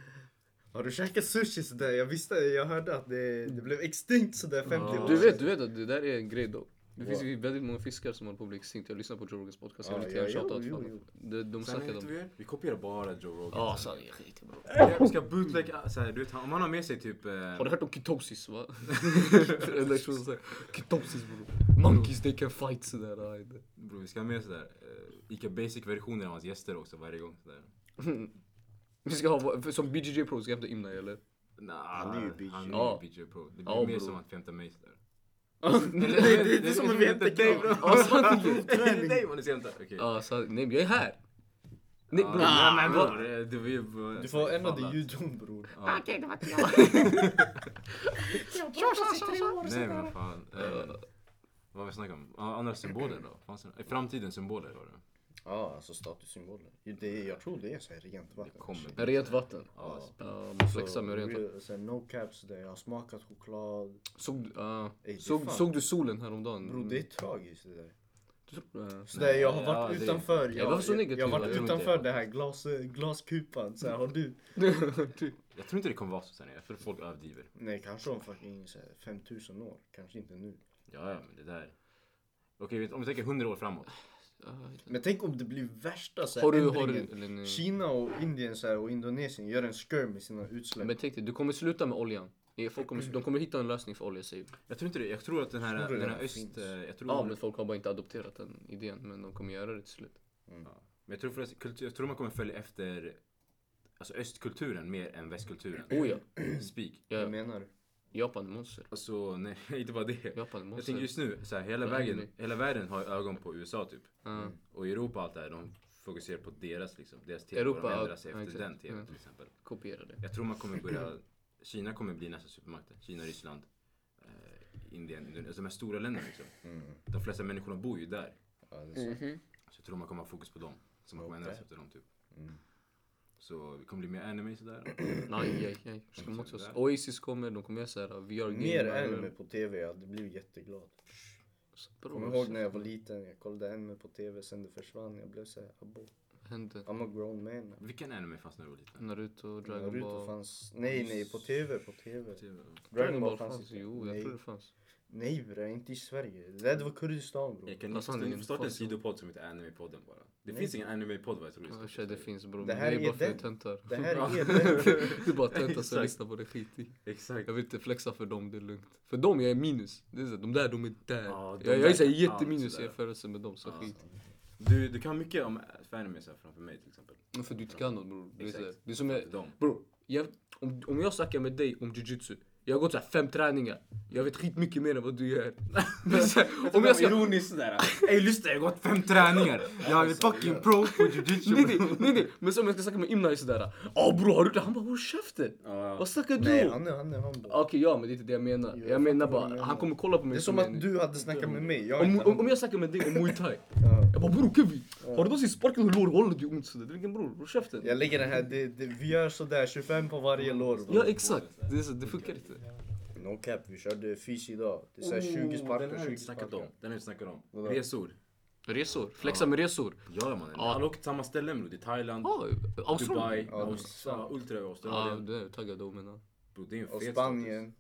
Speaker 2: Har du käkat sushi sådär? Jag visste, jag hörde att det, det blev extinkt sådär 50 år
Speaker 1: Du
Speaker 2: sedan.
Speaker 1: vet, du vet att det där är en grej dock.
Speaker 4: Det finns ju väldigt många fiskar som håller på att bli extinkt. Jag lyssnar på Joe Rogans podcast hela
Speaker 2: Ja,
Speaker 4: tiden.
Speaker 2: Ah, ja,
Speaker 4: Shoutout
Speaker 2: jo,
Speaker 4: till
Speaker 2: jo,
Speaker 4: honom. De, de
Speaker 3: Sen vet
Speaker 4: snackade
Speaker 3: du vad vi
Speaker 4: om...
Speaker 3: gör? Vi kopierar bara Joe Rogan.
Speaker 4: Ja, så det är skit bro.
Speaker 3: Jag ska bootlegga, så här, du vet, han- om han har med sig typ... Eh,
Speaker 4: Har du hört om ketosis va? Eller så säger, ketosis bror. Monkeys they can fight sådär. aj, det.
Speaker 3: Bro, vi ska ha med sådär eh, Ica Basic-versioner av hans gäster också varje gång. Sådär.
Speaker 4: Vi ska ha, för- som BJJ Pro ska jag hämta Imna eller?
Speaker 3: Nah,
Speaker 2: Han är ju BJ.
Speaker 3: Han är
Speaker 4: Ja.
Speaker 3: ju BJ Pro. Det blir
Speaker 4: Ja,
Speaker 3: mer
Speaker 4: bro.
Speaker 3: som att vi hämtar mig sådär.
Speaker 2: Det, det, det, det är som att vi hämtar
Speaker 3: dig bro.
Speaker 2: Kevin.
Speaker 4: Ja, sant, det är
Speaker 3: Alltså, Det är dig man ska hämta. Okej.
Speaker 4: Ja, så, nej men jag är här. Nej bror. vad-
Speaker 3: Ah, men bror, du var ju...
Speaker 2: Du får ändra din
Speaker 3: Fan,
Speaker 2: ljudton bror.
Speaker 3: Ja.
Speaker 1: Okej, det var jag. Jag var så tre år
Speaker 3: Nej
Speaker 1: sedan.
Speaker 3: men fan. Eh, vad vi snackar om? Ja, andra symboler då? Fanns det- I framtidens symboler var det.
Speaker 2: Ja, alltså statussymboler. Det, jag tror det är så här rent
Speaker 3: Det
Speaker 2: vatten.
Speaker 3: kommer
Speaker 4: Men Rent vatten.
Speaker 3: Ja.
Speaker 4: Ja, man
Speaker 2: Så,
Speaker 4: flexar med rent vatten.
Speaker 2: real- så här, no caps där, jag har smakat choklad.
Speaker 4: Såg, ja.
Speaker 2: Ey, det är
Speaker 4: såg,
Speaker 2: fan-
Speaker 4: såg du solen häromdagen?
Speaker 2: Bro det är tragiskt det där.
Speaker 4: Du tror- eh,
Speaker 2: Så där, jag har
Speaker 3: ja,
Speaker 2: varit
Speaker 3: det-
Speaker 2: utanför.
Speaker 4: Jag var så
Speaker 2: jag,
Speaker 4: negativ,
Speaker 2: jag har
Speaker 4: jag
Speaker 2: varit
Speaker 3: tror inte
Speaker 2: utanför
Speaker 3: det.
Speaker 2: det här glas, glaskupan. Så här, har du?
Speaker 4: typ.
Speaker 3: Jag tror inte det kommer vara så sen. Jag tror folk överdriver.
Speaker 2: Nej kanske om fucking så här, 5000 år. Kanske inte nu.
Speaker 3: Ja, ja, men det där. Okej, vet- om vi tänker 100 år framåt.
Speaker 4: Ja,
Speaker 2: Men tänk om det blir värsta så här,
Speaker 4: Har du, har du, mm.
Speaker 2: ändringen.
Speaker 4: eller nej.
Speaker 2: Kina och Indien så här, och Indonesien gör en skör med sina utsläpp.
Speaker 4: Men tänk dig, du kommer sluta med oljan. Eh, Folk kommer, de kommer hitta en lösning för olja säger vi.
Speaker 3: Jag tror inte det. Jag tror att den här,
Speaker 2: Tror du
Speaker 3: den
Speaker 2: det
Speaker 3: här öst...
Speaker 2: finns?
Speaker 3: eh, Jag tror,
Speaker 4: Ja men
Speaker 3: men...
Speaker 4: folk har bara inte adopterat den idén men de kommer göra det till slut.
Speaker 3: jag, tror förresten- kultur, jag tror man kommer följa efter alltså östkulturen mer än västkulturen.
Speaker 4: Oh ja,
Speaker 3: Spik.
Speaker 2: Vad
Speaker 4: ja
Speaker 2: menar du?
Speaker 4: Japan är monster.
Speaker 3: Alltså, nej, inte bara det.
Speaker 4: Japan är
Speaker 3: Jag
Speaker 4: monster.
Speaker 3: tänker just nu, så här, hela,
Speaker 4: Vad händer
Speaker 3: vägen, hela världen har ögon på USA typ.
Speaker 4: Ja.
Speaker 3: Och i Europa och allt det här, de fokuserar på deras, liksom, deras TV och
Speaker 4: Europa,
Speaker 3: de
Speaker 4: ja,
Speaker 3: ändrar sig
Speaker 4: ja, exakt.
Speaker 3: efter
Speaker 4: Mm.
Speaker 3: den TV
Speaker 4: Ja.
Speaker 3: till exempel.
Speaker 4: Kopiera det.
Speaker 3: Jag tror man kommer börja, Kina kommer bli nästa supermakt. Kina, Ryssland, eh, Indien, Indonesien, alltså de här stora länderna liksom.
Speaker 4: Mm.
Speaker 3: De flesta människorna bor ju där.
Speaker 2: Ja, det är så.
Speaker 3: Så jag tror man kommer ha fokus på dem. Så man kommer ändra sig efter dem typ.
Speaker 4: Mm.
Speaker 3: Så vi kommer bli mer anime sådär.
Speaker 4: Nej, nej, nej. Ska motsa oss. Oasis kommer, de kommer göra såhär VR game.
Speaker 2: Mm. Mer anime på tv, jag hade blivit jätteglad. Kommer ihåg när jag var liten, jag kollade anime på tv, sen det försvann. Jag blev såhär, abo.
Speaker 4: Vad hände?
Speaker 2: I'm a grown man. now.
Speaker 3: Vilken anime fanns när du var liten?
Speaker 4: Naruto, Dragon
Speaker 2: Naruto
Speaker 4: Ball. Typ
Speaker 2: fanns, nej nej på tv, på tv.
Speaker 4: Dragon Ball fanns Jo, jag
Speaker 2: nej,
Speaker 4: tror det fanns.
Speaker 2: nej bre, inte i Sverige. Det där var Kurdistan bror.
Speaker 3: Jag kan
Speaker 4: Vad fan, det är
Speaker 3: starta,
Speaker 4: en
Speaker 3: starta en
Speaker 4: fas-
Speaker 3: sidopodd som heter Anime-podden bara. Det finns ingen anime-podd vad jag tror.
Speaker 4: Ja, tjej, det finns bror.
Speaker 2: Det
Speaker 4: Det här
Speaker 2: här
Speaker 4: är
Speaker 2: är
Speaker 4: bara för
Speaker 2: den.
Speaker 4: att töntar.
Speaker 2: Det här
Speaker 3: Ja.
Speaker 2: är den.
Speaker 4: Du bara töntar så
Speaker 3: Exakt.
Speaker 4: lyssnar på det skit i.
Speaker 3: Exakt.
Speaker 4: Jag vill inte flexa för dem, det är lugnt. För dem jag är minus. Det är så, här, de där, de är där.
Speaker 3: Ja, de
Speaker 4: jag, jag är
Speaker 3: där
Speaker 4: såhär
Speaker 3: kan allt
Speaker 4: jätteminus i
Speaker 3: sådär.
Speaker 4: jämförelse med dem, så skit.
Speaker 3: Du, du kan mycket om för anime så här, framför mig till exempel.
Speaker 4: Men för du inte kan något bror. Det är,
Speaker 3: Exakt.
Speaker 4: sådär. det är som jag,
Speaker 3: Framför dem.
Speaker 4: bror, jag, om, om jag snackar med dig om jujutsu. Jag har gått såhär fem träningar. Jag vet skitmycket mer än vad du gör. Men så här, om jag ska...
Speaker 3: Ironiskt sådär. Ey lyssna jag har gått fem träningar. Jag är
Speaker 4: Alltså,
Speaker 3: fucking pro på jujutsu.
Speaker 4: Nej, nej, nej, nej. Men som jag ska snacka med Imnai sådär. Ja bror har du det? Han bara håll käften.
Speaker 3: Ja.
Speaker 4: Vad snackar du
Speaker 2: Nej
Speaker 4: om?
Speaker 2: han är, han är humble.
Speaker 4: Okej ja men det är inte det jag menar.
Speaker 2: Jo,
Speaker 4: jag
Speaker 2: jag
Speaker 4: menar
Speaker 2: fattar
Speaker 4: bara,
Speaker 2: vad du menar.
Speaker 4: han kommer kolla på mig
Speaker 2: Det är som
Speaker 4: som en-
Speaker 2: att du hade snackat med mig, jag är
Speaker 4: Om,
Speaker 2: inte
Speaker 4: om, om
Speaker 2: humble.
Speaker 4: jag snackar med dig om muay thai.
Speaker 2: Ja.
Speaker 4: Jag bara bror Kevin, har du någonsin sparkat hur lår håller du ont sådär? Det är ingen bror, håll käften.
Speaker 2: Jag lägger den här, det, det, vi gör sådär 25 på varje lår bror.
Speaker 4: Ja exakt, det, är så, det funkar inte.
Speaker 2: No cap, vi körde fys idag. Det är såhär
Speaker 4: Oh,
Speaker 3: Den här
Speaker 2: 20 sparkar,
Speaker 3: har vi
Speaker 2: 20
Speaker 3: inte snackat om.
Speaker 2: sparkar.
Speaker 3: Den har vi inte snackat om.
Speaker 2: då?
Speaker 3: Resor.
Speaker 4: Resor, flexa med resor.
Speaker 3: Ja mannen. Alla åker till samma ställen bror. Det är Thailand,
Speaker 4: Ja, Australien. Alltså,
Speaker 3: Dubai,
Speaker 2: Ja,
Speaker 3: Australien, Ultra i
Speaker 4: Ja,
Speaker 3: Australien.
Speaker 4: det är taggad då menar
Speaker 3: Bro, det är en
Speaker 2: Och
Speaker 3: fet
Speaker 2: Spanien.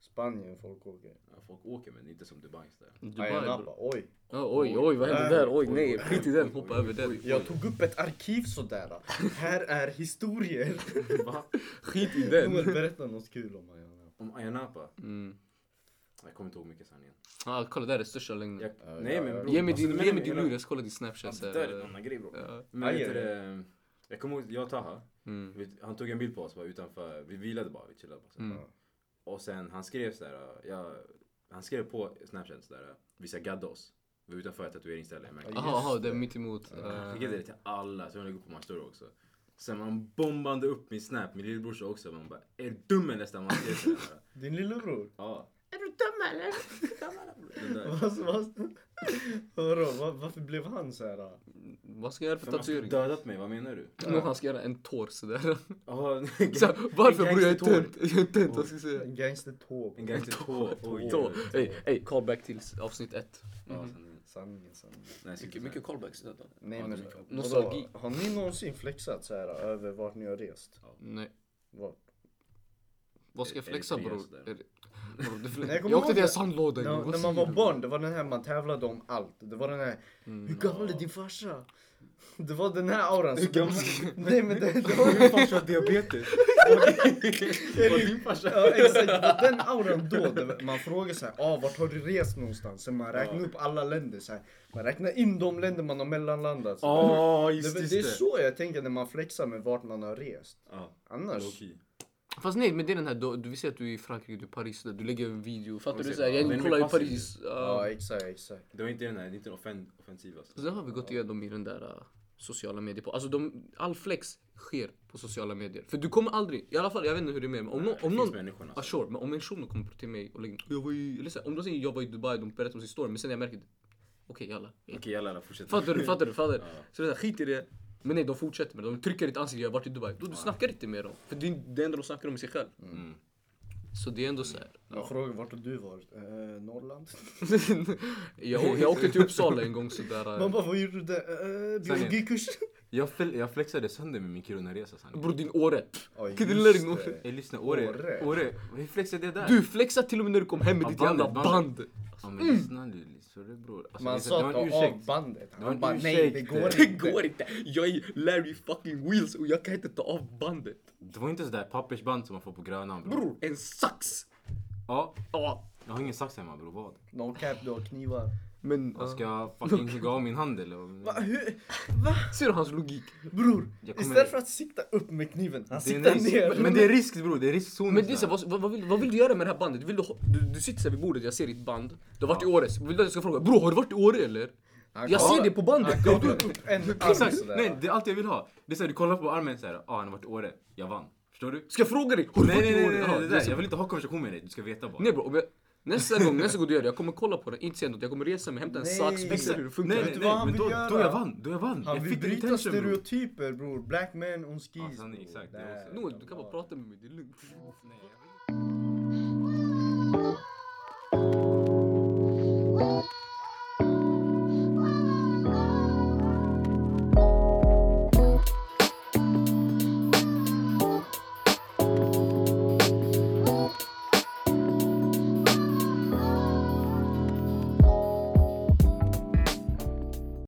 Speaker 2: Spanien folk åker.
Speaker 3: status. Ja, folk åker men inte som Dubai. Där.
Speaker 2: Ayia
Speaker 4: Dubai bror.
Speaker 2: Napa, oj.
Speaker 4: Ja, oj, oj, vad hände där? Oj, nej, skit i den, hoppa över den.
Speaker 2: Jag tog upp ett arkiv sådär. Här är historier.
Speaker 3: Va?
Speaker 4: Skit i
Speaker 2: Noel,
Speaker 4: den.
Speaker 2: berätta något kul om Ayia Napa.
Speaker 3: Om Ayia Napa?
Speaker 4: Mm.
Speaker 3: Jag kommer inte ihåg mycket sanningen.
Speaker 4: Ja, kolla där är största lögnen.
Speaker 3: Jag, nej men bror.
Speaker 4: Ge mig
Speaker 3: alltså,
Speaker 4: din,
Speaker 3: men-
Speaker 4: ge mig din
Speaker 3: hela-
Speaker 4: lur, jag ska kolla din snapchat
Speaker 3: Alltså, det där är en
Speaker 4: såhär.
Speaker 3: annan grej bror.
Speaker 4: Ja.
Speaker 3: Men
Speaker 2: Aj,
Speaker 3: vet du,
Speaker 2: aj,
Speaker 3: det, jag kommer ihåg, jag och Taha,
Speaker 4: Mm.
Speaker 3: vi, han tog en bild på oss bara, utanför, vi vilade bara, vi chillade bara. så här.
Speaker 4: Mm.
Speaker 3: Och sen han skrev sådär, jag, han skrev på snapchat sådär, vi ska gadda oss. Vi var utanför ett tatueringsställe i Mecka.
Speaker 4: Jaha, jaha, det är mitt emot.
Speaker 3: Jag
Speaker 4: Eh,
Speaker 3: Skickade det till alla, så jag lägger upp på min story också. Sen man bombade upp min snap, min lillebrorsa också. Man bara, är du dum eller nästan? Man skrev sådär.
Speaker 2: Din lillebror?
Speaker 3: Ja,
Speaker 1: Är du dum eller?
Speaker 3: den där.
Speaker 2: Vad- vad- Vadå, va- varför blev han såhär?
Speaker 4: Vad ska jag göra för
Speaker 3: För man skulle
Speaker 4: tatuering?
Speaker 3: dödat mig, vad menar du?
Speaker 4: Någon han ska göra en tår sådär.
Speaker 3: Ja, en
Speaker 4: Så,
Speaker 3: gang-
Speaker 4: varför
Speaker 3: en
Speaker 4: bror jag är
Speaker 3: gangstertår.
Speaker 4: tönt? Jag är tönt, vad ska jag säga?
Speaker 2: Gangstertåg.
Speaker 3: En gangstertår. Oj,
Speaker 4: Tå.
Speaker 3: oj, oj.
Speaker 4: Ey, ey, callback till avsnitt ett.
Speaker 3: Ja, sanningen.
Speaker 2: Sanningen, sanningen.
Speaker 3: Nej, jag ska inte
Speaker 4: Mycket,
Speaker 3: säga.
Speaker 4: mycket callbacks idag. då.
Speaker 2: Nej
Speaker 3: Ja,
Speaker 2: men
Speaker 3: det är mycket.
Speaker 2: vadå?
Speaker 4: Nostalgi.
Speaker 2: Har ni någonsin flexat såhär över vart ni har rest?
Speaker 4: Nej,
Speaker 2: Vart?
Speaker 1: Vad ska jag
Speaker 3: Är det
Speaker 1: flexa
Speaker 3: fria
Speaker 1: bror?
Speaker 3: sådär?
Speaker 1: Är det- bror, det fle-
Speaker 2: Nej, jag kommer
Speaker 1: Jag åkte
Speaker 2: ihåg
Speaker 1: till en
Speaker 2: det.
Speaker 1: sandlåda en gång,
Speaker 2: När,
Speaker 1: vad
Speaker 2: när man var
Speaker 1: säger du?
Speaker 2: barn, det var den här man tävlade om allt. Det var den här, hur gammal är din farsa? Det var den här auran. Hur gammal? Nej men det, det var
Speaker 3: Min farsa har diabetes.
Speaker 2: Ja, exakt. Den auran då, det var- man frågar så här, ah, vart har du rest någonstans? Så man räknar upp alla länder. Så här. Man räknar in de länder man har mellanlandat. Så.
Speaker 3: Ja,
Speaker 2: det,
Speaker 3: just
Speaker 2: är väl- det är så jag tänker när man flexar med vart man har rest.
Speaker 3: Ja,
Speaker 2: Annars,
Speaker 3: low-key.
Speaker 1: Fast nej men det är den här, då- du vill säga att du är i Frankrike, du är i Paris, där du lägger en video. Fattar
Speaker 3: Och
Speaker 1: du?
Speaker 3: sen-
Speaker 1: Såhär,
Speaker 3: ja, den
Speaker 1: jag
Speaker 3: är
Speaker 1: kollar i
Speaker 3: passiv.
Speaker 1: Paris.
Speaker 2: ja
Speaker 1: Ja.
Speaker 2: exakt, exakt.
Speaker 3: Det var inte den här, det är inte den offen, alltså. offensiva.
Speaker 1: Så det har vi gått igenom i den där äh, sociala medier på. Alltså de, all flex sker på sociala medier. För du kommer aldrig, i alla fall jag vet inte hur det är med men om, nå-
Speaker 3: Det
Speaker 1: om
Speaker 3: finns
Speaker 1: någon...
Speaker 3: människorna.
Speaker 4: Ah,
Speaker 1: Ja sure, men om en shuno kommer till mig och lägger jag var i, eller så här, om de säger jag var i Dubai, de berättar om sin story, men sen när jag märker det. Okej jalla.
Speaker 3: Okej, jalla, jalla, fortsätt.
Speaker 1: Fattar du? Fattar du? Fattar du?
Speaker 3: Ja.
Speaker 1: Så det är så här, skit i det. Men nej, de fortsätter med det. De trycker i ditt ansikte, jag har varit i Dubai. Då du snackar inte med dem. För det är det enda de snackar om är sig själv.
Speaker 3: Mm.
Speaker 1: Så det är ändå så här.
Speaker 2: Man frågar vart har du varit? Eh, Norrland?
Speaker 1: jag, jag åkte till Uppsala en gång sådär.
Speaker 2: Man
Speaker 1: äh,
Speaker 2: bara, vad gjorde du där? Eh, biologikurs?
Speaker 3: Jag, fel, jag flexade sönder med min Kiruna-resa sanningen.
Speaker 1: Bror din Åre.
Speaker 2: Ja,
Speaker 1: Kan du
Speaker 2: just
Speaker 1: lära dig
Speaker 2: det.
Speaker 1: något?
Speaker 3: Ey lyssna, Åre.
Speaker 2: Åre.
Speaker 3: Åre, hur flexade jag där?
Speaker 1: Du flexade till och med när du kom hem med
Speaker 3: Ja,
Speaker 1: ditt
Speaker 3: bandet,
Speaker 1: jävla band.
Speaker 3: bandet. Ja men lyssna nu, sorry bror. Alltså,
Speaker 2: Man
Speaker 3: det-
Speaker 2: sa
Speaker 3: det var en
Speaker 2: ta av
Speaker 3: ursäkt.
Speaker 2: bandet.
Speaker 3: Det var
Speaker 2: Han
Speaker 3: en
Speaker 2: bara, nej det
Speaker 3: ursäkt.
Speaker 2: går inte.
Speaker 1: Det går inte. Jag är Larry fucking Wheels och jag kan inte ta av bandet.
Speaker 3: Det var inte sådär pappersband som man får på Grönan bror.
Speaker 1: Bror, en sax.
Speaker 3: Ja,
Speaker 1: Ja.
Speaker 3: jag har ingen sax hemma bror, vad?
Speaker 2: No cap, du har knivar.
Speaker 1: Men
Speaker 3: Jag ska fucking hugga av min hand eller? vad?
Speaker 2: hur?
Speaker 1: ser du hans logik?
Speaker 2: Bror,
Speaker 3: Jag kommer-
Speaker 2: istället för att sikta upp med kniven, han
Speaker 3: Det är
Speaker 2: siktar
Speaker 3: en risk,
Speaker 2: ner.
Speaker 3: men det är risk bror, det är riskzonen.
Speaker 1: Men det är så, här, vad, vad, vill, vad vill du göra med det här bandet? Vill du, ha- du, du sitter så här vid bordet, jag ser ditt band. Du har varit i Åre. Så Vill du att jag ska fråga bror har du varit i Åre eller?
Speaker 2: Han
Speaker 1: Jag
Speaker 2: kollar-
Speaker 1: ser det på bandet.
Speaker 2: Han kollar upp en arm
Speaker 3: Exakt,
Speaker 2: sådär.
Speaker 3: nej det är allt jag vill ha. Det är såhär, du kollar på armen såhär, ah han har varit i Åre, jag vann. Förstår du?
Speaker 1: Ska jag fråga dig? Har du
Speaker 3: Nej
Speaker 1: varit
Speaker 3: nej nej,
Speaker 1: i Åre?
Speaker 3: nej,
Speaker 1: Ja,
Speaker 3: nej, det
Speaker 1: jag
Speaker 3: där.
Speaker 1: ser-
Speaker 3: jag vill inte ha konversation med dig, du ska veta bara.
Speaker 1: Nej bro, om jag, nästa gång, nästa gång du gör det, jag kommer kolla på den, inte säga något. Jag kommer resa mig, hämta en
Speaker 2: Nej.
Speaker 1: sax, visa hur det funkar.
Speaker 3: Nej
Speaker 2: Vet
Speaker 3: nej
Speaker 2: du vad
Speaker 3: nej,
Speaker 2: han
Speaker 3: men
Speaker 2: vill
Speaker 3: då,
Speaker 2: göra?
Speaker 3: då jag vann, då jag vann.
Speaker 2: Han
Speaker 3: jag
Speaker 2: vill
Speaker 3: fick
Speaker 2: bryta
Speaker 3: intention bror.
Speaker 2: stereotyper bror. Black man on skis.
Speaker 3: Ja, sanning, exakt, det
Speaker 2: Där.
Speaker 3: också.
Speaker 1: Noel, du kan bara prata med mig, det är lugnt.
Speaker 3: Nej, jag vill-